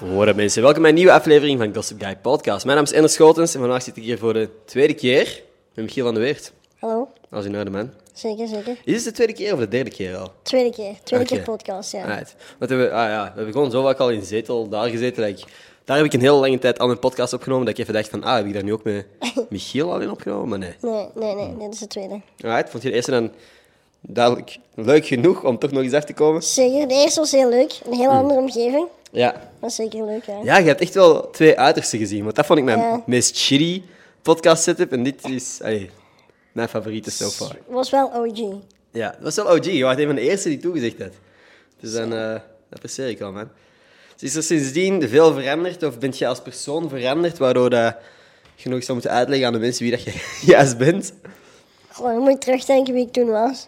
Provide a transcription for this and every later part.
Horen mensen, welkom bij een nieuwe aflevering van Gossip Guy Podcast. Mijn naam is Ender Schotens en vandaag zit ik hier voor de tweede keer met Michiel van der Weert. Hallo, Als u nou de man. zeker, zeker. Is het de tweede keer of de derde keer al? Tweede keer, tweede Oké. keer podcast, ja. Alright. Wat hebben we, ah ja, we hebben gewoon zo vaak al in zetel daar gezeten. Dat ik, daar heb ik een hele lange tijd al mijn podcast opgenomen. Dat ik even dacht van, ah, heb ik daar nu ook met Michiel al in opgenomen? Maar nee. Nee, nee, nee, dit is de tweede. Alright, vond je de eerste dan duidelijk leuk genoeg om toch nog eens af te komen? Zeker, de eerste was heel leuk. Een hele andere omgeving. Ja. Dat is zeker leuk, ja. Mm. Ja, je hebt echt wel twee uitersten gezien. Want dat vond ik mijn Ja. meest shitty podcast setup. En dit is allee, mijn favoriete so far. Was wel OG. Ja, dat was wel OG. Je was een van de eerste die toegezegd had. Dus dan, eh, dat apprecieer ik wel, man. Dus is er sindsdien veel veranderd? Of ben je als persoon veranderd, waardoor dat je nog zou moeten uitleggen aan de mensen wie dat je juist bent? Goh, dan moet ik terugdenken wie ik toen was.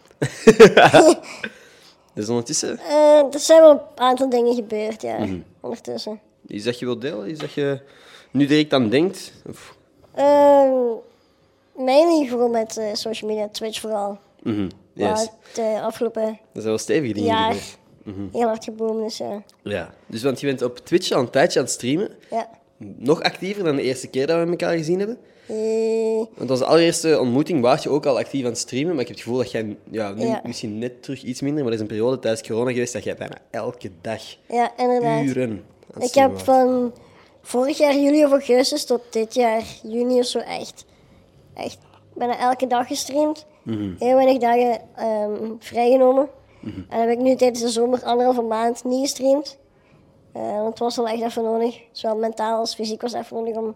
Dus ondertussen, Eh, er zijn wel een aantal dingen gebeurd, ja, Mhm. ondertussen. iets dat je wilt delen? Iets dat je nu direct aan denkt? Of, Ehm mijn gewoon met eh, social media, Twitch vooral. mhm, Waar yes. het de afgelopen Dat zijn wel stevige dingen. die je jaar doet. heel hard geboomd is, ja. Ja. Dus want je bent op Twitch al een tijdje aan het streamen. ja. Nog actiever dan de eerste keer dat we elkaar gezien hebben. Eh, Want onze allereerste ontmoeting was je ook al actief aan het streamen, maar ik heb het gevoel dat jij ja, nu Ja. misschien net terug iets minder, maar er is een periode tijdens corona geweest dat jij bijna elke dag ja, inderdaad. uren aan het Ik streamen heb was. van vorig jaar juli of augustus tot dit jaar juni of zo echt, echt bijna elke dag gestreamd. Mhm. Heel weinig dagen ehm, vrijgenomen. En heb ik nu tijdens de zomer anderhalve maand niet gestreamd. Eh, want het was wel echt even nodig. Zowel mentaal als fysiek was het even nodig om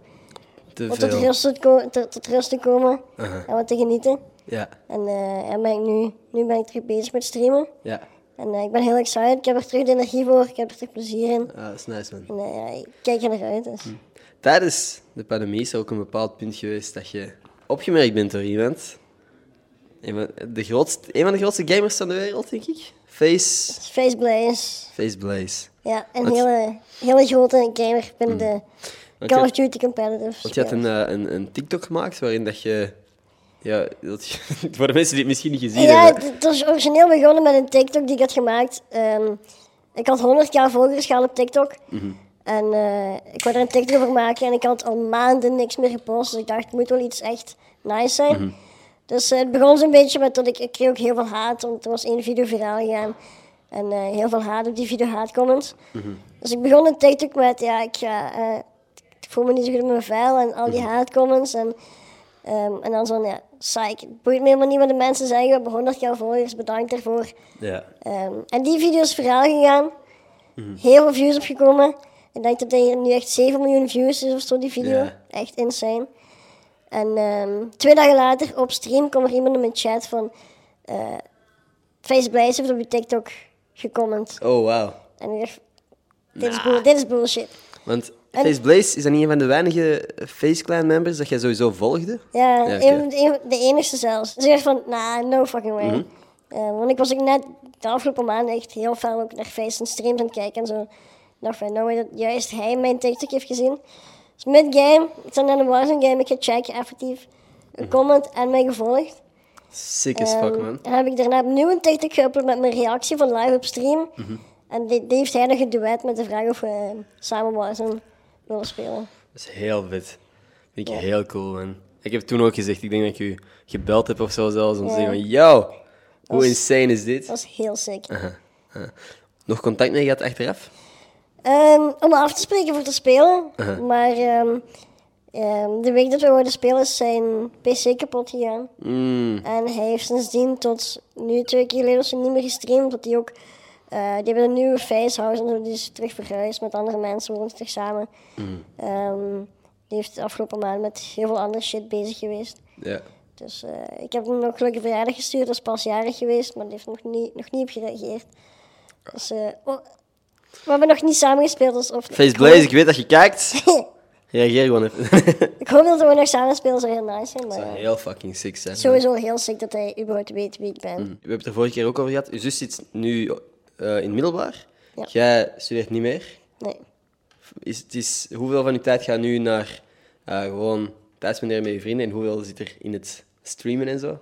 Te om tot veel. rust te, ko- te- tot rust te komen en wat te genieten. Ja, En eh, en ben ik nu, nu ben ik terug bezig met streamen. ja. En eh, ik ben heel excited. Ik heb er terug de energie voor. Ik heb er terug plezier in. Ah, dat is nice man. En eh, ja, ik kijk er naar uit. Dus. Mhm. Tijdens de pandemie is er ook een bepaald punt geweest dat je opgemerkt bent door iemand. Een van de grootste, een van de grootste gamers van de wereld, denk ik. Face, Face Blaze. Face Blaze. Ja, eh, een Wat- Hmm. hele, hele grote gamer binnen de Oké. Call of Duty Competitive. Want je had een, eh, een, een TikTok gemaakt waarin dat je... Ja, dat je- voor de mensen die het misschien niet gezien Ja, hebben. het het was origineel begonnen met een TikTok die ik had gemaakt. Ehm, ik had 100k volgers gehaald op TikTok. En eh, ik wilde er een TikTok over maken en ik had al maanden niks meer gepost. Dus ik dacht, het moet wel iets echt nice zijn. Dus eh, het begon zo'n beetje met dat ik, ik kreeg ook heel veel haat. Want er was één video viraal gegaan. En eh, heel veel haat op die video, haatcomments. Dus ik begon een TikTok met, ja, ik, ga, eh, ik voel me niet zo goed op mijn vuil en al die haatcomments. En Ehm, en dan zo'n, ja, psych. Het boeit me helemaal niet wat de mensen zeggen. We hebben 100 jaar volgers, bedankt daarvoor. Ja. Ehm, en die video is viraal gegaan. Heel veel views opgekomen. Ik denk dat hij nu echt 7 miljoen views is of zo, die video. Ja. Echt insane. En ehm, twee dagen later op stream kwam er iemand in mijn chat van... eh Face Blaze heeft op je TikTok gecomment. Oh, wauw. En ik dacht, dit is, bull- dit is bullshit. Want Face Blaze, is dat niet een van de weinige Face Clan members dat jij sowieso volgde? Ja, Ja, oké. een- een- de enigste zelfs. Dus ik dacht van, nah, no fucking way. Mhm. Eh, want ik was ook net de afgelopen maanden echt heel fel ook naar feesten en streams aan het kijken en zo. Ik dacht van, no way dat juist hij mijn TikTok heeft gezien. Dus mid-game, ik zat naar de Warzone game, ik ga checken, effectief. Een comment en mij gevolgd. Sick as Mhm. fuck, Ehm, man. En heb ik daarna opnieuw een TikTok geüpload met mijn reactie van live op stream. Mhm. En die, die heeft hij nog een duet met de vraag of we eh, samen Warzone willen spelen. Dat is heel vet. Vind ik heel cool, man. Ik heb toen ook gezegd, ik denk dat ik u gebeld heb of zo zelfs, om te Ja. zeggen van, yo, hoe is- insane is dit? Dat was heel Ah, sick. Nog contact mee gehad achteraf? Ehm, om af te spreken voor te spelen. Maar ehm, ehm, de week dat we wilden spelen is zijn PC kapot gegaan. Mm, En hij heeft sindsdien tot nu twee keer geleden of zo niet meer gestreamd. Omdat hij ook. eh, die hebben een nieuwe facehouse en zo. Die is dus terug verhuisd met andere mensen. Woont terug samen. Ehm, die heeft de afgelopen maand met heel veel andere shit bezig geweest. ja. Dus eh, ik heb hem nog gelukkig verjaardag gestuurd. Dat is pas jarig geweest, maar die heeft nog niet, nog niet op gereageerd. Dus, eh, oh, we hebben nog niet samen gespeeld. Dus of, Face Blaze, ik weet dat je kijkt. Reageer gewoon even. Ik hoop dat we nog samen spelen, zou heel nice zijn. Maar Dat zou eh, heel fucking sick zijn. man. sowieso heel sick dat hij überhaupt weet wie ik ben. We hebben het er vorige keer ook over gehad. Uw zus zit nu eh, in het middelbaar. Ja. Jij studeert niet meer. Nee. Is, het is, hoeveel van je tijd gaat nu naar eh, gewoon tijd spenderen met je vrienden en hoeveel zit er in het streamen en zo?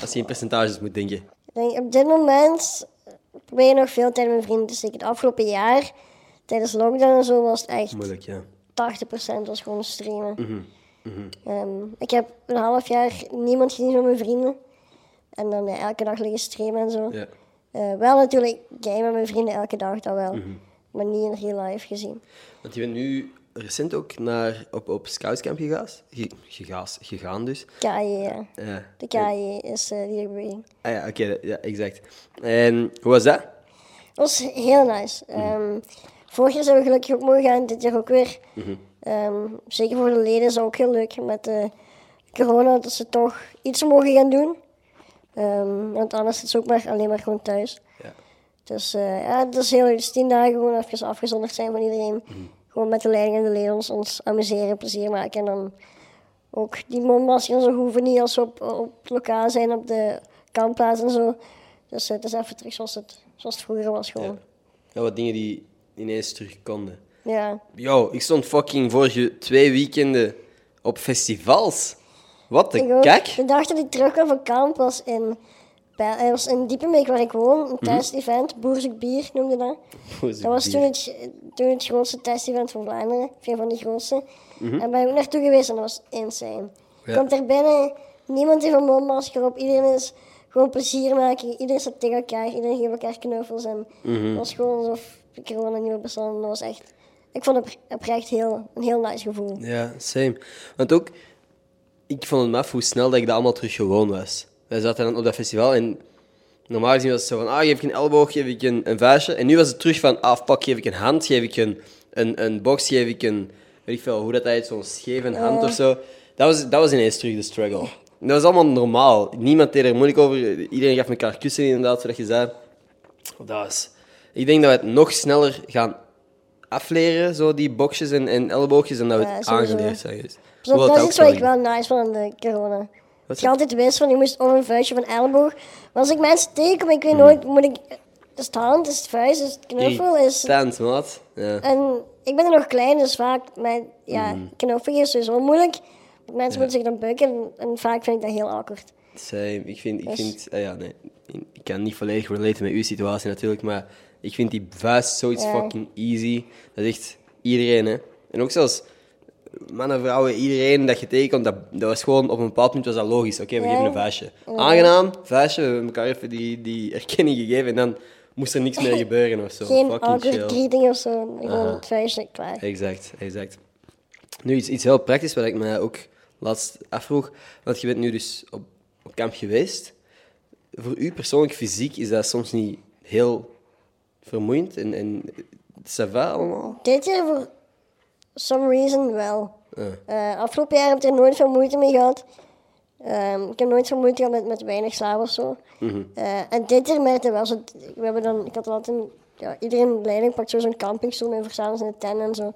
Als je in percentages moet denken. Ik denk, op dit moment probeer ik nog veel tijd met mijn vrienden te steken. Het afgelopen jaar tijdens lockdown en zo was het echt Moeilijk, ja. 80% was gewoon streamen. Ehm, ik heb een half jaar niemand gezien van mijn vrienden. En dan ja, elke dag liggen streamen en zo. ja. Eh, wel natuurlijk gamen met mijn vrienden elke dag, dat wel. Maar niet in real life gezien. Want je bent nu recent ook naar, op, op scoutscamp gegaan. Ge- gegaas- gegaan dus. KAI, ja. Ja. E. De KAI is eh, die beweging. Ah ja, oké, ja, exact. En hoe was dat? Dat was heel nice. Ehm, vorig jaar zijn we gelukkig ook mogen gaan, dit jaar ook weer. Ehm, zeker voor de leden is dat ook heel leuk met eh, corona, dat ze toch iets mogen gaan doen. Ehm, want anders zit ze ook maar, alleen maar gewoon thuis. Ja. Dus eh, ja, het is heel leuk. Dus tien dagen gewoon even afgezonderd zijn van iedereen. Gewoon met de leiding en de leden ons, ons amuseren, plezier maken. En dan ook die mondmaskers en zo hoeven niet als we op, op het lokaal zijn, op de kampplaats en zo. Dus eh, het is even terug zoals het, zoals het vroeger was Ja. gewoon. Ja, wat dingen die ineens terug konden. Ja. Yo, ik stond fucking vorige twee weekenden op festivals. Wat Ik een ook. kak. De dag dat ik terugkwam van kamp was in, Pel- eh, was in Diepenbeek waar ik woon, Mhm. een test-event, Boerzig Bier noemde dat. Boerzig dat was Bier. toen het, toen het grootste test-event van Vlaanderen, of een van de grootste. En ben ik ook naartoe geweest en dat was insane. Mhm. Ja. Komt er binnen, niemand heeft een mondmasker op, iedereen is gewoon plezier maken, iedereen staat tegen elkaar, iedereen geeft elkaar knuffels en Mhm. het was gewoon alsof de corona niet meer bestond. Dat was echt, ik vond het oprecht heel, een heel nice gevoel. Ja, same. Want ook, ik vond het maf hoe snel dat ik dat allemaal terug gewoon was. Wij zaten dan op dat festival en normaal gezien was het zo van, ah, geef ik een elleboog, geef ik een, een vuistje. En nu was het terug van, ah, fuck, geef ik een hand, geef ik een, een, een box, geef ik een, weet ik veel, hoe dat heet, zo'n scheef een hand of zo. Dat was, dat was ineens terug de struggle. Dat was allemaal normaal. Niemand deed er moeilijk over. Iedereen gaf elkaar kussen inderdaad, zodat je zei. Dat is... Ik denk dat we het nog sneller gaan afleren, zo die boxjes en, en elleboogjes, en dat we Ja, het sowieso. aangeleerd zijn. Dus. Dus dat, Hoewel dat is ook iets zo wat ik ging. wel nice vond aan de corona. Dat is je altijd wist van, je moest of een vuistje van elleboog. Maar als ik mensen tegenkom, ik Hmm. weet nooit, moet ik... Is het hand, is het vuist, is het knuffel, is... Eh, Irritant, maat. Ja. En ik ben er nog klein, dus vaak mijn... Ja, Hmm. knuffel is sowieso moeilijk. Want mensen moeten zich dan bukken en, en vaak vind ik dat heel awkward. Same. Ik vind... Ik, vind ah ja, nee. ik kan niet volledig relaten met uw situatie natuurlijk, maar ik vind die vuist zoiets Ja. fucking easy. Dat is echt iedereen, hè. En ook zelfs mannen, vrouwen, iedereen dat je tegenkomt, dat, dat was gewoon... Op een bepaald punt was dat logisch. Oké, we Ja. geven een vuistje. Aangenaam, vuistje. We hebben elkaar even die, die erkenning gegeven en dan moest er niks meer gebeuren of zo. Geen fucking awkward chill. greeting of zo. Gewoon het vuistje, klaar. Exact, exact. Nu iets, iets heel praktisch wat ik me ook laatst afvroeg. Want je bent nu dus op, op kamp geweest. Voor u persoonlijk fysiek is dat soms niet heel vermoeiend en, en ça va allemaal? Dit jaar voor some reason wel. Eh, afgelopen jaar heb ik er nooit veel moeite mee gehad. Ehm, ik heb nooit veel moeite gehad met, met weinig slaap of zo. Eh, en dit jaar merkte wel zo. We hebben dan, ik had altijd een, ja, iedereen leiding pakt zo zo'n campingstoel en verzamelen in de tent en zo.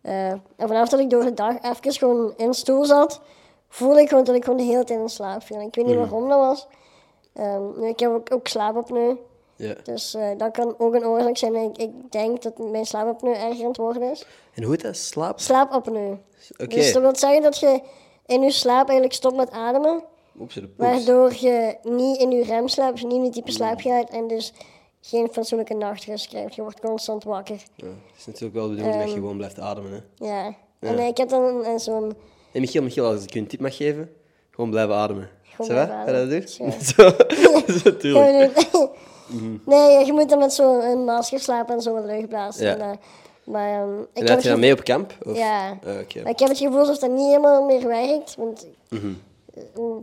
Eh, en vanaf dat ik door de dag even gewoon in een stoel zat, voelde ik gewoon dat ik gewoon de hele tijd in slaap viel. Ik weet niet waarom dat was. Ehm, nu, ik heb ook, ook slaapapneu. Ja. Dus eh, dat kan ook een oorzaak zijn. Ik, ik denk dat mijn slaapapneu erger aan het worden is. En hoe heet dat? Slaap? Slaapapneu. Oké. Dus dat wil zeggen dat je in je slaap eigenlijk stopt met ademen. Oeps, de poes. Waardoor je niet in je rem slaapt, dus niet in die diepe slaap gaat. En dus geen fatsoenlijke nachtrust krijgt. Je wordt constant wakker. Ja, het is natuurlijk wel de bedoeling Ehm. dat je gewoon blijft ademen. Hè. Ja. En eh, ik heb dan een- een zo'n... En Michiel, Michiel, als ik je een tip mag geven, gewoon blijven ademen. Gewoon Zeg blijven maar, ga je dat ademen. doen? Zo, zo, tuurlijk. Ja, we doen- Mhm. nee, je moet dan met zo'n masker slapen en zo wat luchtblazen. Ja. En, eh, maar ehm, ik En had heb je het dan mee op kamp? Of? Ja. Ah, Oké. Mhm. Maar ik heb het gevoel alsof dat niet helemaal meer werkt. Want ik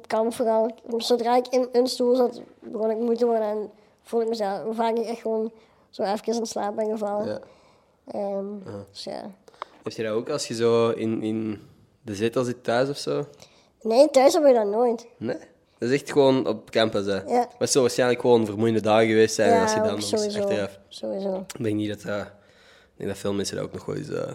kan vooral. Zodra ik in een stoel zat, begon ik moe te worden en voelde ik mezelf. Hoe vaak ik echt gewoon zo even in slaap ben gevallen. Ja. Ehm, Dus ja. Heb je dat ook als je zo in, in de zetel zit thuis of zo? Nee, thuis hebben we dat nooit. Nee? Dat is echt gewoon op campus, hè? Ja. Maar het zullen waarschijnlijk gewoon vermoeiende dagen geweest zijn. en als je dan ook nog eens sowieso. achteraf... Sowieso. Ik denk niet dat dat... Ik denk dat veel mensen dat ook nog wel eens eh,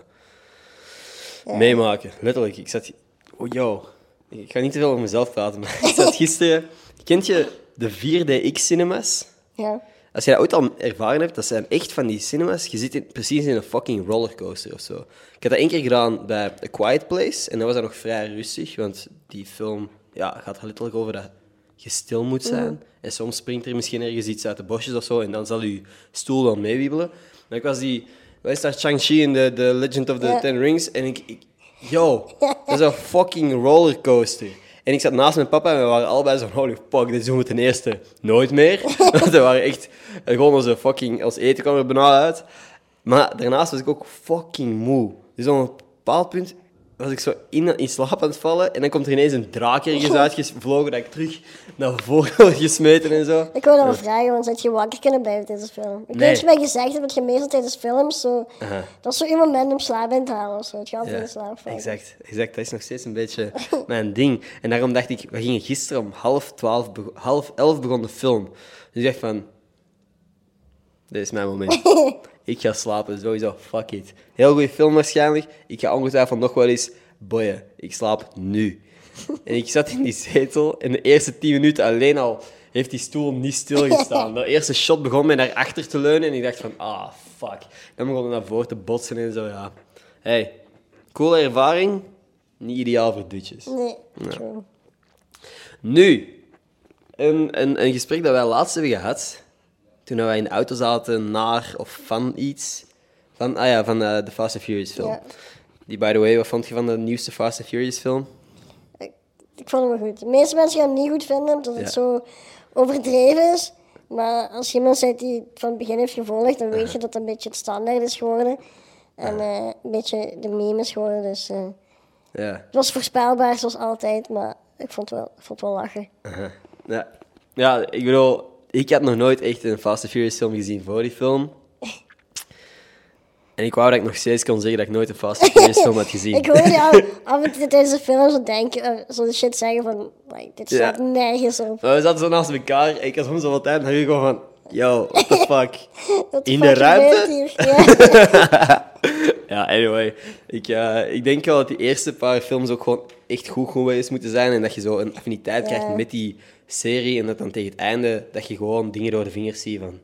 meemaken. Letterlijk. Ik zat... Oh, yo. Ik ga niet te veel over mezelf praten, maar ik zat gisteren... Kent je de 4DX-cinemas? Ja. Als je dat ooit al ervaren hebt, dat zijn echt van die cinemas. Je zit in, precies in een fucking rollercoaster of zo. Ik had dat één keer gedaan bij A Quiet Place. En dat was dan nog vrij rustig, want die film ja, gaat letterlijk over dat je stil moet zijn. En soms springt er misschien ergens iets uit de bosjes of zo. En dan zal je stoel wel meewiebelen. Maar ik was die Wij staan Shang-Chi in The, The Legend of the Ja. Ten Rings. En ik, ik- Yo, dat is een fucking rollercoaster. En ik zat naast mijn papa en we waren allebei zo holy fuck, dit doen we ten eerste nooit meer. Want we waren echt... eh, Gewoon onze fucking... Ons eten kwam er bijna uit. Maar daarnaast was ik ook fucking moe. Dus op een bepaald punt was ik zo in, in slaap aan het vallen. En dan komt er ineens een draak ergens uitgevlogen dat ik terug naar voren word gesmeten en zo. Ik wilde wel vragen, want had je wakker kunnen blijven tijdens de film? Ik Nee. denk dat je mij gezegd hebt dat je meestal tijdens films zo... Dat zo iemand met hem slaap bent halen of zo. Het gaat altijd in slaap vallen. exact, exact. Dat is nog steeds een beetje mijn ding. En daarom dacht ik, we gingen gisteren om half, twaalf, bego- half elf begon de film. Dus ik dacht van, dit is mijn moment. ik ga slapen, sowieso, fuck it. Heel goede film waarschijnlijk. Ik ga ongetwijfeld nog wel eens boeien. Ik slaap nu. En ik zat in die zetel en de eerste tien minuten alleen al heeft die stoel niet stilgestaan. Dat eerste shot begon mij naar achter te leunen en ik dacht van, ah, fuck. Dan begon het naar voren te botsen en zo, ja. Hey, coole ervaring. Niet ideaal voor dutjes. Nee, true. Nu, een, een, een gesprek dat wij laatst hebben gehad, toen wij in de auto zaten naar of van iets. Van, ah ja, van eh, de Fast and Furious film. Ja. Die, by the way, wat vond je van de nieuwste Fast and Furious film? Ik, ik vond hem wel goed. De meeste mensen gaan hem niet goed vinden, omdat Ja. het zo overdreven is. Maar als je iemand bent die het van het begin heeft gevolgd, dan weet je dat dat een beetje het standaard is geworden. En eh, een beetje de meme is geworden, dus... eh, Ja. het was voorspelbaar, zoals altijd, maar ik vond het wel, ik vond het wel lachen. Ja. ja, ik bedoel, ik had nog nooit echt een Fast and Furious film gezien voor die film. En ik wou dat ik nog steeds kon zeggen dat ik nooit een Fast and Furious film had gezien. Ik hoorde jou af en toe tijdens de film zo denken, eh, zo de shit zeggen van, like, dit Ja. staat nergens op. Maar we zaten zo naast elkaar en ik had soms al wat tijd en dan ging ik gewoon van... Yo, what the fuck? Wat In de fuck gebeurt ruimte? hier? Ja. Ja, anyway. Ik, eh, ik denk wel dat die eerste paar films ook gewoon echt goed geweest moeten zijn. En dat je zo een affiniteit Ja. krijgt met die serie. En dat dan tegen het einde, dat je gewoon dingen door de vingers ziet van...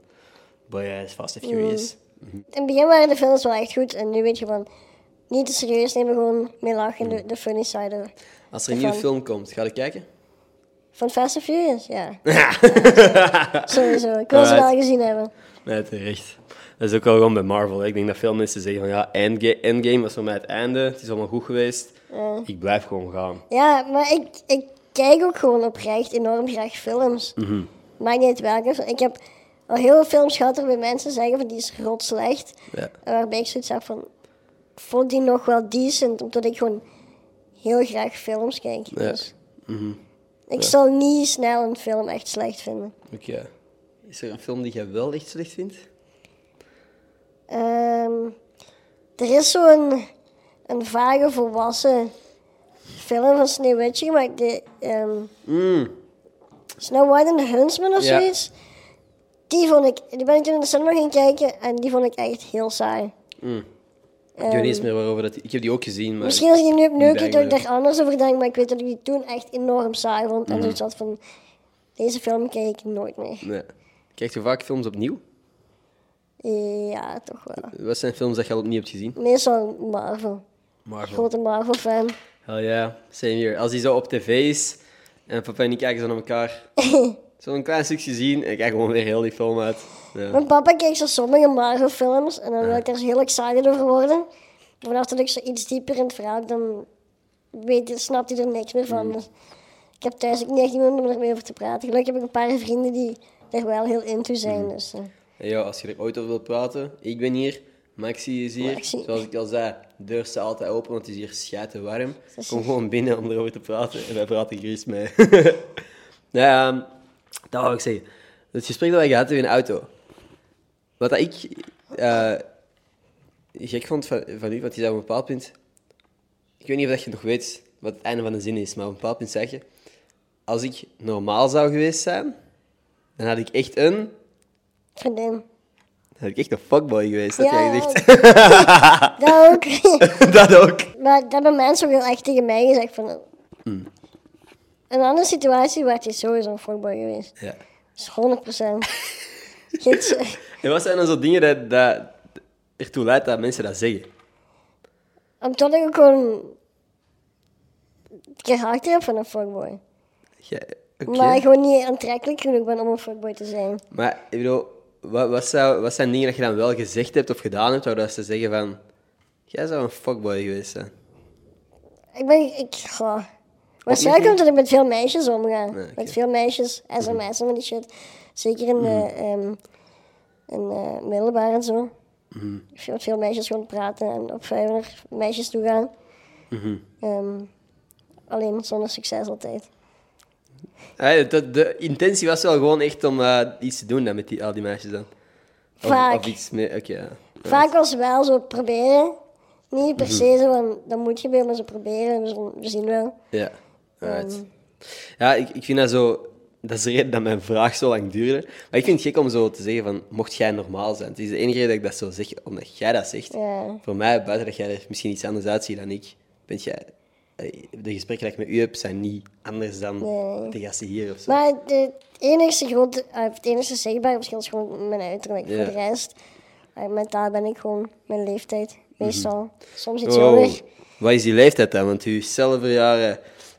Boy, hij is Fast Mm. and Furious. In het begin waren de films wel echt goed en nu weet je van, niet te serieus nemen, gewoon mee lachen, de, de funny side Als er een nieuwe Ervan. film komt, ga je kijken? van Fast and Furious, ja. Sowieso, ik wil ze Alright. wel gezien hebben. Nee, terecht. Dat is ook wel gewoon bij Marvel. Ik denk dat veel mensen zeggen van... Ja, Endgame, Endgame was voor mij het einde. Het is allemaal goed geweest. Ik blijf gewoon gaan. Ja, maar ik, ik kijk ook gewoon oprecht enorm graag films. Mhm. Maakt niet uit welke. film. Ik heb al heel veel films gehad waarbij mensen zeggen van die is rot slecht. Ja. En waarbij ik zoiets heb van, ik vond die nog wel decent, omdat ik gewoon heel graag films kijk. Ja. Dus ik zal niet snel een film echt slecht vinden. Oké. Is er een film die jij wel echt slecht vindt? Ehm, er is zo'n een vage volwassen film van Sneeuwwitje gemaakt. Die, ehm, Snow White and the Huntsman of Ja. zoiets. Die vond ik, die ben ik toen in de cinema gaan kijken en die vond ik echt heel saai. ik weet niet eens meer waarover dat... Ik heb die ook gezien, maar... Eh, Misschien als ik die nu opnieuw kijk, dat ik bijgewerkt. daar anders over denk, maar ik weet dat ik die toen echt enorm saai vond. En zoiets had van, deze film kijk ik nooit meer. Nee. Kijk je vaak films opnieuw? Ja, toch wel. Wat zijn films dat je al opnieuw hebt gezien? Meestal Marvel. Marvel. Grote Marvel-fan. Hell yeah, same here. Als die zo op tv is en papa en ik kijken zo naar elkaar. Zo'n klein stukje zien en ik kijk gewoon weer heel die film uit. Ja. Mijn papa kijkt zo sommige Marvel-films en dan wil ik daar zo heel excited over worden. Maar vanaf dat ik zo iets dieper in het verhaal, dan weet, snapt hij er niks meer van. Dus ik heb thuis ook niet echt iemand om ermee over te praten. Gelukkig heb ik een paar vrienden die er wel heel into zijn. Dus, eh, En joh, als je er ooit over wilt praten, ik ben hier, Maxi is hier. Maxi. Zoals ik al zei, de deur staat altijd open, want het is hier schijten warm. is- Kom gewoon binnen om erover te praten en wij praten gerust mee. nou ja, ehm, dat wou ik zeggen. Het gesprek dat wij gehad hebben in de auto. Wat dat ik eh, gek vond van, van u, want je zei op een bepaald punt... Ik weet niet of dat je nog weet wat het einde van de zin is, maar op een bepaald punt zeg je... Als ik normaal zou geweest zijn, dan had ik echt een... vriendin. Dan had ik echt een fuckboy geweest, dat jij gezegd. dat ook. dat ook. maar dat hebben mensen ook heel echt tegen mij gezegd. Van, Een andere situatie werd je sowieso een fuckboy geweest. Ja. Dat is 100%. Gids- eh, En wat zijn dan zo dingen dat, dat ertoe leidt dat mensen dat zeggen? Omdat ik ook gewoon het karakter heb van een fuckboy. Ja, oké. Maar gewoon niet aantrekkelijk genoeg ben om een fuckboy te zijn. Maar ik bedoel, Wat, wat, zou, wat zijn dingen dat je dan wel gezegd hebt of gedaan hebt, waardoor ze zeggen van... Jij zou een fuckboy geweest zijn. Ik ben... Ik, goh. Opmerking? Waarschijnlijk omdat ik met veel meisjes omga. Nee, oké. Met veel meisjes, sms en van die shit. Zeker in, Hmm. eh ehm, in eh, middelbaar en zo. Hmm. Ik heb met veel meisjes gewoon praten en op vijf naar meisjes toe gaan. Hmm. Ehm, alleen zonder succes altijd. Hey, dat, de intentie was wel gewoon echt om eh, iets te doen dan met die, al die meisjes dan. Of, Vaak. Of iets meer... Oké, ja. Vaak was het wel zo proberen. Niet per se zo van, dat moet gebeuren, maar ze proberen. We zullen- We zien wel. Ja, right. Ehm. Ja, ik, ik vind dat zo... Dat is de reden dat mijn vraag zo lang duurde. Maar ik vind het gek om zo te zeggen van, mocht jij normaal zijn? Het is de enige reden dat ik dat zo zeg, omdat jij dat zegt. Ja. Voor mij, buiten dat jij er misschien iets anders uitziet dan ik, ben jij... eh, De gesprekken die ik met u heb, zijn niet anders dan Nee. de gasten hier of zo. Maar de- het enige grote, eh, het enige zichtbare verschil is gewoon mijn uiterlijk. Ja. Voor de rest, eh, mentaal ben ik gewoon mijn leeftijd, meestal. Soms iets Mhm. Oh, Wow. jonger. Wat is die leeftijd dan? Want u is zelf jaren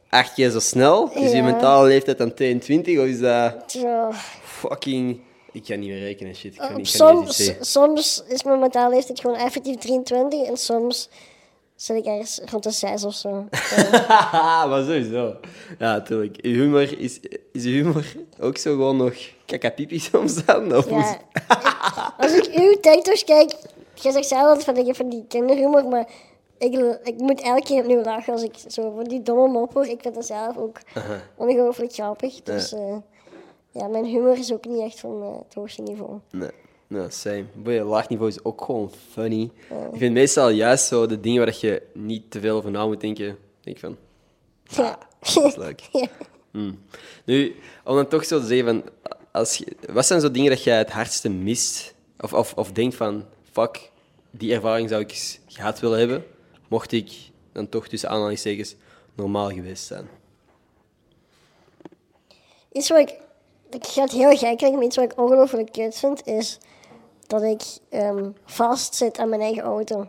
acht keer zo snel. Is uw Ja. mentale leeftijd dan 22 of is dat Zo. fucking... Ik kan niet meer rekenen, shit. Ik kan, Op niet- ik kan niet eens iets soms, zeggen. soms is mijn mentale leeftijd gewoon effectief 23 en soms zit ik ergens rond de 6 of zo. maar sowieso. Ja, natuurlijk. Uw humor is, is uw humor ook zo gewoon nog kakapipi soms dan? Of Ja. hoe- Als ik uw TikToks kijk, jij zegt zelf altijd van ik heb van die kinderhumor, maar ik, ik moet elke keer opnieuw lachen als ik zo van die domme mop hoor. Ik vind dat zelf ook Uh-huh. ongelooflijk grappig. Dus eh, ja, mijn humor is ook niet echt van eh, het hoogste niveau. Nee, no, same. Boeien, laagniveau is ook gewoon funny. Ik vind meestal juist zo de dingen waar je niet te veel van na moet denken. Denk ik van, Ja. Ah, dat is leuk. Ja. Hmm. Nu, om dan toch zo te zeggen, van, als je, wat zijn zo dingen dat jij het hardste mist? Of, of, of denkt van, fuck, die ervaring zou ik eens gehad willen hebben, mocht ik dan toch tussen aanhalingstekens normaal geweest zijn. Iets wat ik, ik ga het heel gek klinken, maar iets wat ik ongelooflijk kut vind, is dat ik ehm vast zit aan mijn eigen auto.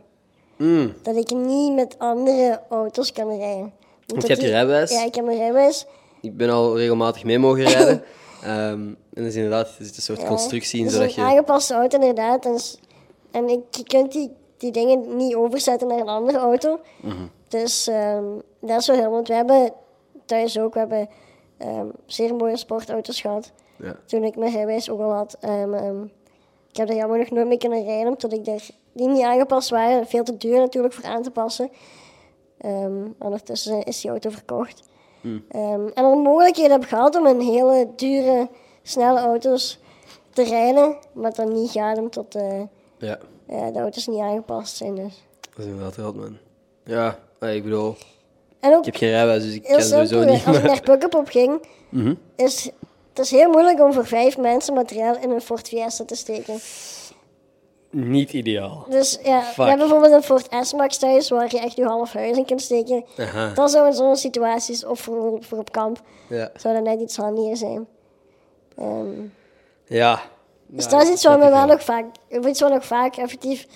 Hmm. Dat ik niet met andere auto's kan rijden. Want je hebt je rijbewijs? Ja, ik heb mijn rijbewijs. Ik ben al regelmatig mee mogen rijden. Ehm, en dat is inderdaad er zit een soort constructie in, Het is zodat Dus een je... aangepaste auto, inderdaad. En, s- en ik, je kunt die, die dingen niet overzetten naar een andere auto. Mhm. Dus ehm, dat is wel heel... Want we hebben thuis ook we hebben, ehm, zeer mooie sportauto's gehad. Ja. Toen ik mijn rijbewijs ook al had. Ehm, ehm, ik heb daar jammer nog nooit mee kunnen rijden, omdat ik daar, die niet aangepast waren. Veel te duur natuurlijk voor aan te passen. Ehm, ondertussen zijn- is die auto verkocht. Ehm, en al mogelijkheden heb ik gehad om in hele dure, snelle auto's te rijden, maar het dan niet gaat omdat eh, ja, eh, de auto's niet aangepast zijn. Dus. dat is inderdaad rot, man. Ja, maar ik bedoel, En ook ik heb geen rijbewijs, dus ik heel kan sowieso simpel, Mhm. niet... als ik naar Pukkelpop ging, is het is heel moeilijk om voor vijf mensen materiaal in een Ford Fiesta te steken. Niet ideaal. Dus ja, Fuck. we hebben bijvoorbeeld een Ford S-Max thuis waar je echt je half huis in kunt steken. Aha. Dat zou in zo'n situaties of voor, voor op kamp, Ja. zou dat net iets handiger zijn. Ehm, Ja. Dus Ja, dat is iets wat snap me ik wel nog vaak, of iets wat nog vaak effectief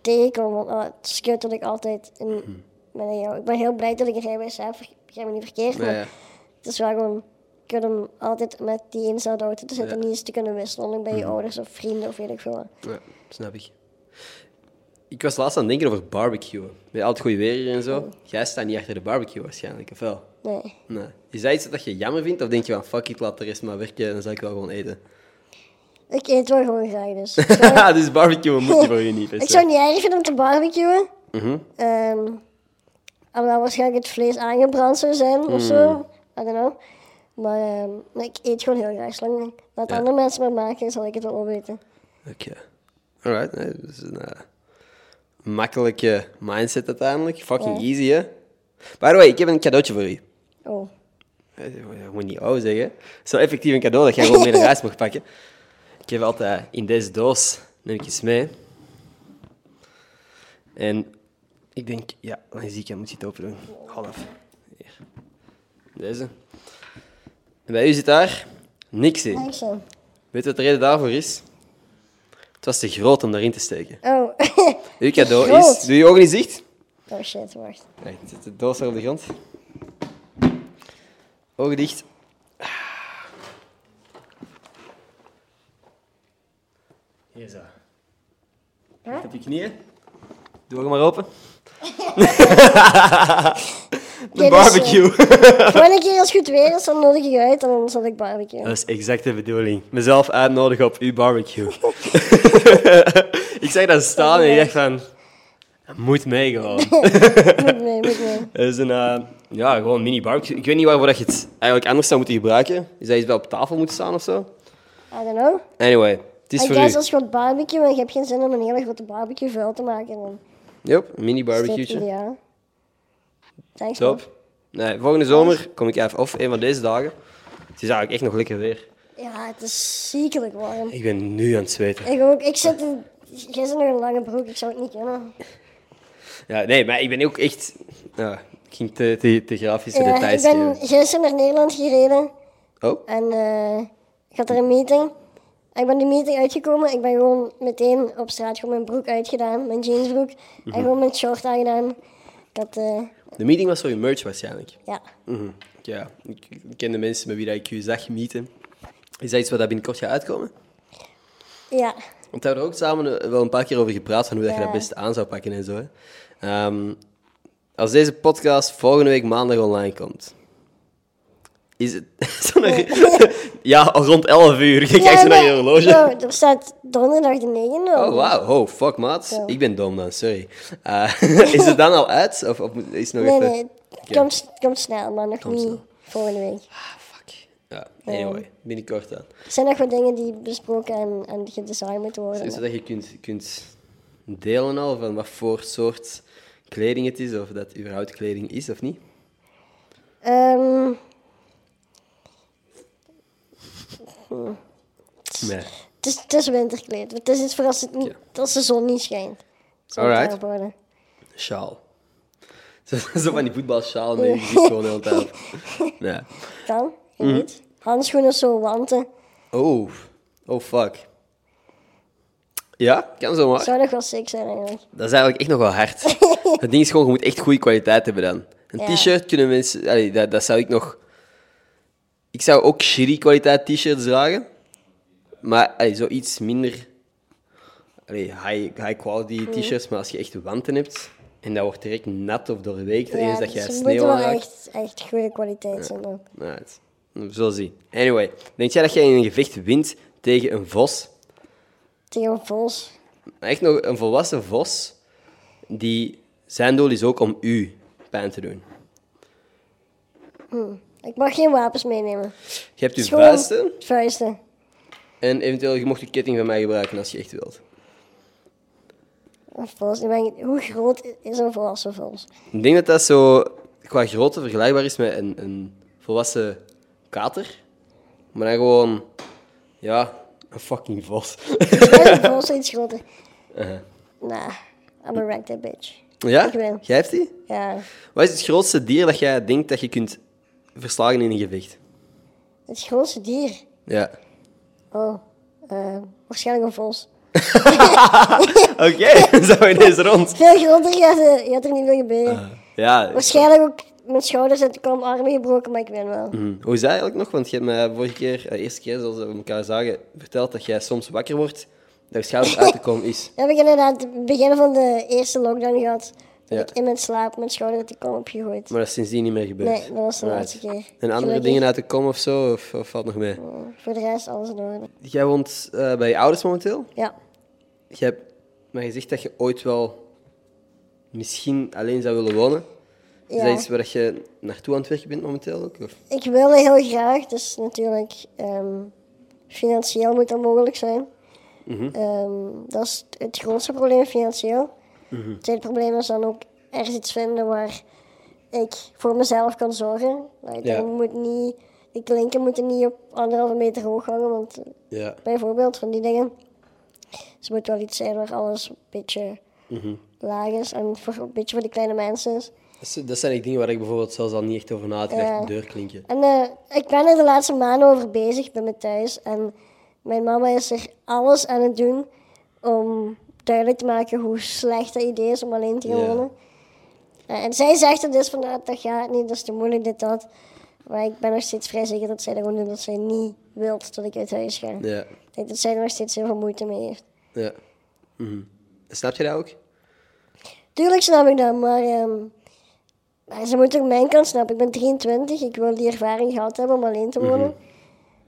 tegenkomt. Want ah, het is kut dat ik altijd in Hm. mijn eigen- Ik ben heel blij dat ik een rijbewijs heb, begrijp me niet verkeerd. Ja, maar ja. het is wel gewoon kut om altijd met die eenzelfde auto te zitten en niet eens te kunnen wisselen. Ook Hm. bij je ouders of vrienden of weet ik veel. wat. Ja, snap ik. Ik was laatst aan het denken over barbecuen. Met al het goede weer hier en Oh. zo. Jij staat niet achter de barbecue waarschijnlijk, of wel? Nee. Nee. Is dat iets dat je jammer vindt? Of denk je van, fuck it, laat de rest maar werken en dan zal ik wel gewoon eten? Ik eet wel gewoon graag dus. Ik zou- dus barbecuen moet je voor je niet. Mhm. per ik se. zou het niet erg vinden om te barbecuen. Ehm, alhoewel waarschijnlijk het vlees aangebrand zou zijn of Mm. zo. I don't know. Maar ehm, nee, ik eet gewoon heel graag. Zolang dat Ja. andere mensen maar maken, zal ik het wel opeten. Oké. Alright, nee, dat is een eh, makkelijke mindset uiteindelijk. Fucking easy, hè? By the way, ik heb een cadeautje voor u. Oh. Eh, Ik moet niet ouw zeggen. Het is wel effectief een cadeau dat jij gewoon mee naar huis mag pakken. Ik heb altijd in deze doos, neem ik iets mee. En ik denk, ja, dan zie ik, dan moet je het open doen. Half. Hier. Deze. En bij u zit daar niks in. Thanks, man. Weet je wat de reden daarvoor is? Het was te groot om daarin te steken. Oh. Uw cadeau Groot. is... Doe je ogen niet zicht? oh shit, wacht. Nee, zet de doos er op de grond. Ogen dicht. Hier zo. Huh? Op je knieën. Doe hem maar open. Dit De is, barbecue. dus, eh, Volgende keer als het goed weer is, dan nodig ik uit en dan zal ik barbecue. Dat is exact de bedoeling. Mezelf uitnodigen op uw barbecue. ik zag dat staan en ik dacht van... Moet mee gewoon. Moet mee, moet mee. Het is een eh, ja, gewoon mini barbecue. Ik weet niet waarvoor dat je het eigenlijk anders zou moeten gebruiken. Is dat iets wel op tafel moet staan of zo? I don't know. Anyway, het is I voor guess u. als je wilt barbecue en je hebt geen zin om een hele grote barbecue vuil te maken, dan Yep, een mini is dit barbecue. ideaal. Thanks, man. Top. Nee, volgende zomer kom ik even, of een van deze dagen. Het is eigenlijk echt nog lekker weer. Ja, het is ziekelijk warm. Ik ben nu aan het zweten. Ik ook. Ik zit in... Jij zit nog een lange broek, ik zou het niet kunnen. Ja, nee, maar ik ben ook echt... Ja, ik ging te, te, te grafische Ja, Eh, ik details ben geven. gisteren naar Nederland gereden Oh, en eh, ik had er een meeting. Ik ben die meeting uitgekomen. Ik ben gewoon meteen op straat gewoon mijn broek uitgedaan, mijn jeansbroek. Mhm. En gewoon mijn short aangedaan. Ik had, eh, de meeting was voor je merch waarschijnlijk. ja. Mhm. Ja, ik ik ken de mensen met wie dat ik u zag meeten. Is dat iets wat dat binnenkort gaat uitkomen? Ja. Want we hebben er ook samen eh, wel een paar keer over gepraat van hoe dat je Ja. dat best aan zou pakken en zo. hè. Ehm, als deze podcast volgende week maandag online komt, is het. zo'n- ja, rond 11 uur. Je kijkt zo naar je nee, horloge. bro, er staat donderdag de 9 Oh, wauw. Oh, fuck, maat. Ik ben dom dan, sorry. Eh, is het dan al uit? Of, of moet- is het nog Nee, even... nee. Het komt, het komt snel, maar nog niet volgende week. Ah, fuck. Ja, anyway. Binnenkort dan. Er zijn nog wat dingen die besproken en, en gedesigned moeten worden. Zodat Dus je kunt, kunt delen al van wat voor soort kleding het is, of dat überhaupt kleding is of niet. Ehm, Nee. het, is, het is winterkleed. Het is iets voor als, het niet, als de zon niet schijnt. Zo moet Alright. het daarop worden. Sjaal. Zo, zo van die voetbalsjaal Oh. met je gezicht gewoon heel tijd. Ja. Kan, Mhm. je weet. Handschoenen of zo, wanten. Oh. Oh, fuck. Ja, kan zomaar. Zou nog wel sick zijn eigenlijk. Dat is eigenlijk echt nog wel hard. Het ding is gewoon, je moet echt goede kwaliteit hebben dan. Een Ja. t-shirt kunnen mensen... Allee, dat, dat zou ik nog... Ik zou ook shitty kwaliteit t-shirts dragen. Maar allee, zo iets minder... Allee, high, high Mhm. quality t-shirts. Maar als je echt wanten hebt... En dat wordt direct nat of doorweekt. Ja, eens dat dus jij het sneeuw moet wel aanraakt. echt, echt goede kwaliteit zijn ook. Nou, het- we zullen zien. Anyway, denk jij dat jij in een gevecht wint tegen een vos? Tegen een vos. Echt nog een volwassen vos, die zijn doel is ook om u pijn te doen. Ik mag geen wapens meenemen. Je hebt uw Gewoon vuisten Vuisten. en eventueel je mocht je ketting van mij gebruiken als je echt wilt. Een Oh, vos. Ik ben- hoe groot is een volwassen vos? Ik denk dat dat zo qua grootte vergelijkbaar is met een, een volwassen kater, maar dan gewoon, ja, een fucking vos. Is een vos iets groter? Uh-huh. Nah, I'm a wreck that bitch. ja? Ik wil. Jij hebt die? Ja, Wat is het grootste dier dat jij denkt dat je kunt verslagen in een gevecht? het grootste dier. Ja. Oh, eh, waarschijnlijk een vos. Oké, zo ineens rond. Veel groter gaat, eh, gaat er niet meer gebeuren. Ja, Waarschijnlijk ook mijn schouders en de armen gebroken, maar ik win wel. hm. hoe is dat eigenlijk nog? Want je hebt mij vorige keer, de eerste keer zoals we elkaar zagen, verteld dat jij soms wakker wordt, dat je schouders uit te komen is. Dan heb ik inderdaad het begin van de eerste lockdown gehad. Dat Ja. ik in mijn slaap mijn schouder de kom heb gegooid. Maar dat is sindsdien niet meer gebeurd. Nee, dat was de Alright. laatste keer. En andere Gelukkig. dingen uit de kom of zo, of, of valt nog mee? Voor de rest alles in orde. Jij woont eh, bij je ouders momenteel. Ja, Je hebt mij gezegd dat je ooit wel misschien alleen zou willen wonen. Is Ja. dat iets waar je naartoe aan het werken bent momenteel ook? Of? ik wilde heel graag, dus natuurlijk ehm, financieel moet dat mogelijk zijn. Ehm, dat is het grootste probleem financieel. Het tweede probleem is dan ook ergens iets vinden waar ik voor mezelf kan zorgen. Like, Ja. ik moet niet, de klinken moeten niet op anderhalve meter hoog hangen, want eh, Ja. bijvoorbeeld van die dingen. Dus het moet wel iets zijn waar alles een beetje laag is en voor, een beetje voor de kleine mensen is. Dat zijn eigenlijk dingen waar ik bijvoorbeeld zelfs al niet echt over na had gedacht. Ja. Deurklinken. En eh, ik ben er de laatste maanden over bezig bij me thuis. En mijn mama is er alles aan het doen om duidelijk te maken hoe slecht dat idee is om alleen te gaan Ja. wonen. Eh, en zij zegt er dus van, "Ah, dat gaat niet, dat is te moeilijk, dit, dat. Maar ik ben nog steeds vrij zeker dat zij dat gewoon doet, dat zij niet wilt dat ik uit huis ga. Ja. Ik denk dat zij er nog steeds heel veel moeite mee heeft. Ja. Mhm. Snap je dat ook? Tuurlijk snap ik dat, maar ehm, maar ze moeten ook mijn kant snappen. Ik ben 23, ik wil die ervaring gehad hebben om alleen te wonen.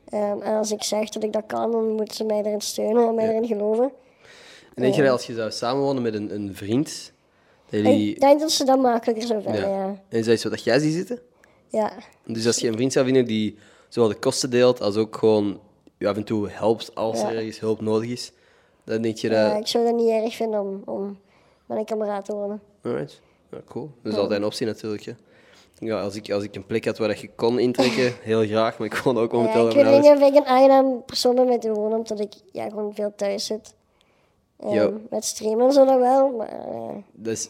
Ehm, en als ik zeg dat ik dat kan, dan moeten ze mij erin steunen en mij erin geloven. En denk je dat als je zou samenwonen met een, een vriend, dat jullie... Ik denk dat ze dat makkelijker zou vinden, ja. En is dat iets wat jij ziet zitten? ja. Dus als je een vriend zou vinden die zowel de kosten deelt als ook gewoon je af en toe helpt als Ja. er ergens hulp nodig is, dan denk je dat... Ja, ik zou dat niet erg vinden om, om met een kameraad te wonen. Alright. Ja, cool. Dat is altijd een optie natuurlijk. Hè. Ja, als, ik, als ik een plek had waar dat je kon intrekken, heel graag, maar ik kon ook Ja, momenteel met ik weet mijn niet ouders. of ik een aangenaam persoon ben met te wonen, omdat ik ja, gewoon veel thuis zit. Ehm, Jo. met streamen en zo dan wel, maar eh, Dat is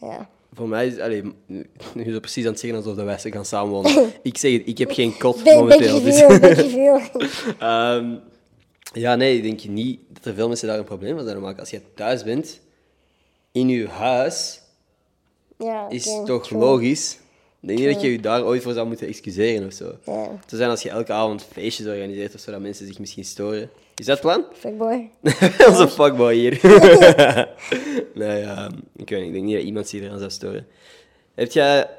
ja. Dus voor mij, is, allee, nu is het precies aan het zeggen alsof dat wij gaan samenwonen. ik zeg het, ik heb geen kot Big, big momenteel. dus- reveal, big reveal. Ehm, ja, nee, ik denk niet dat er veel mensen daar een probleem van zouden maken. Als je thuis bent, in je huis, Ja, is oké, toch true. logisch. Ik denk niet dat je je daar ooit voor zou moeten excuseren of zo. Ja. Te zijn als je elke avond feestjes organiseert of zo, dat mensen zich misschien storen. Is dat het plan? Fuckboy. Onze fuckboy hier. nee, ja, ik weet niet. Ik denk niet dat iemand zich eraan zou storen. Heb jij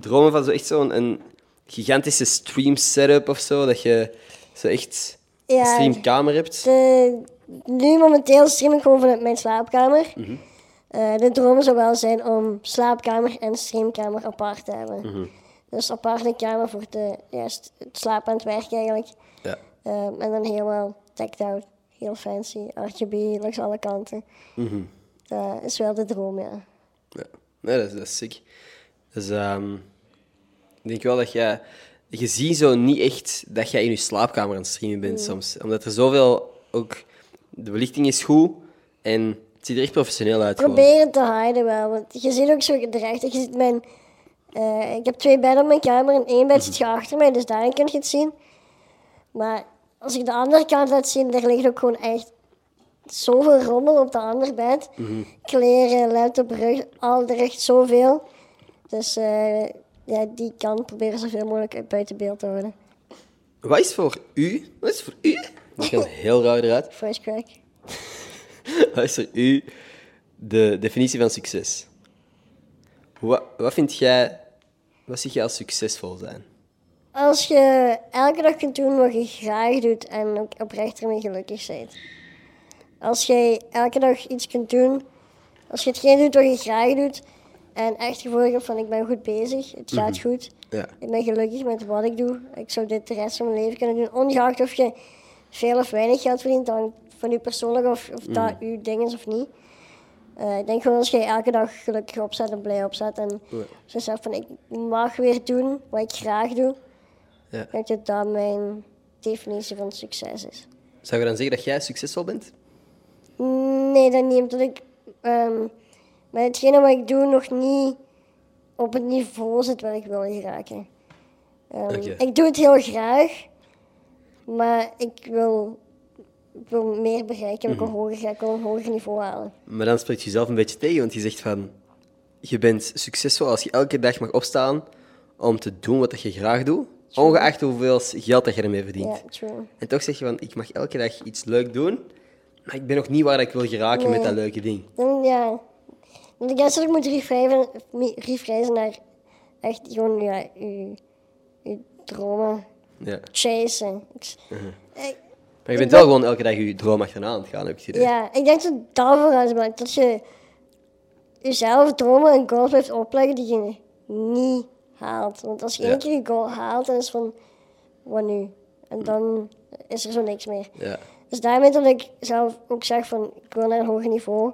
dromen van zo echt zo'n een gigantische stream setup of zo? Dat je zo echt Ja, een streamkamer hebt? De, eh, nu momenteel stream ik gewoon vanuit mijn slaapkamer. Eh, de droom zou wel zijn om slaapkamer en streamkamer apart te hebben. Dus apart een kamer voor de, ja, st- het slapen en het werk eigenlijk. Ja. Ehm, en dan helemaal decked out. Heel fancy, RGB, langs alle kanten. Dat is wel de droom, ja. Ja. Nee, dat is, dat is sick. Dus ehm, ik denk wel dat jij... Je ziet zo niet echt dat jij in je slaapkamer aan het streamen bent soms. Omdat er zoveel... Ook de belichting is goed en het ziet er echt professioneel uit. gewoon. Probeer het te hiden wel, want je ziet ook zo gedreigd. Je ziet mijn, eh, ik heb twee bedden op mijn kamer en één bed zit je achter mij, dus daarin kun je het zien. Maar als ik de andere kant laat zien, daar ligt ook gewoon echt zoveel rommel op de andere bed. Kleren, laptop, rug, al er echt zoveel. Dus eh, ja, die kant proberen zoveel mogelijk uit buiten beeld te houden. Wat is voor u? Wat is voor u? Dat kan heel raar eruit. Voice crack. Wat is voor u de definitie van succes? Wat, wat vind jij... Wat zie jij als succesvol zijn? Als je elke dag kunt doen wat je graag doet en ook oprecht ermee gelukkig bent. Als jij elke dag iets kunt doen, als je hetgeen doet wat je graag doet en echt gevoel hebt van ik ben goed bezig, het gaat goed, Ja. ik ben gelukkig met wat ik doe, ik zou dit de rest van mijn leven kunnen doen, ongeacht of je veel of weinig geld verdient, dan van je persoonlijk of, of dat je ding is of niet. Eh, ik denk gewoon als je elke dag gelukkig opzet en blij opzet en zo zegt van ik mag weer doen wat ik graag doe, Ja. denk dat dat mijn definitie van succes is. Zou je dan zeggen dat jij succesvol bent? Nee, dat niet, omdat ik ehm, met hetgene wat ik doe nog niet op het niveau zit waar ik wil geraken. Ehm, Oké. Ik doe het heel graag, maar ik wil, ik wil meer bereiken, Mhm. ik wil hoger, ik wil een hoger niveau halen. Maar dan spreekt jezelf een beetje tegen, want je zegt van... Je bent succesvol als je elke dag mag opstaan om te doen wat dat je graag doet, ongeacht hoeveel geld dat je ermee verdient. Ja, true. En toch zeg je van, ik mag elke dag iets leuk doen, maar ik ben nog niet waar ik wil geraken met Nee. dat leuke ding. Dan, Mm, ja. Want ik denk dat ik moet refreven- me- refrezen naar echt gewoon ja, je, je dromen Ja. chasen. Ik- Eh, ik- Maar je bent wel gewoon elke dag je droom achterna aan het gaan, heb ik het idee. ja, ik denk dat dat vooruit maakt. Dat je jezelf dromen en goals blijft opleggen die je niet haalt. Want als je Ja. één keer je goal haalt, dan is het van, wat nu? En dan is er zo niks meer. Ja. Dus daarmee dat ik zelf ook zeg van ik wil naar een hoger niveau.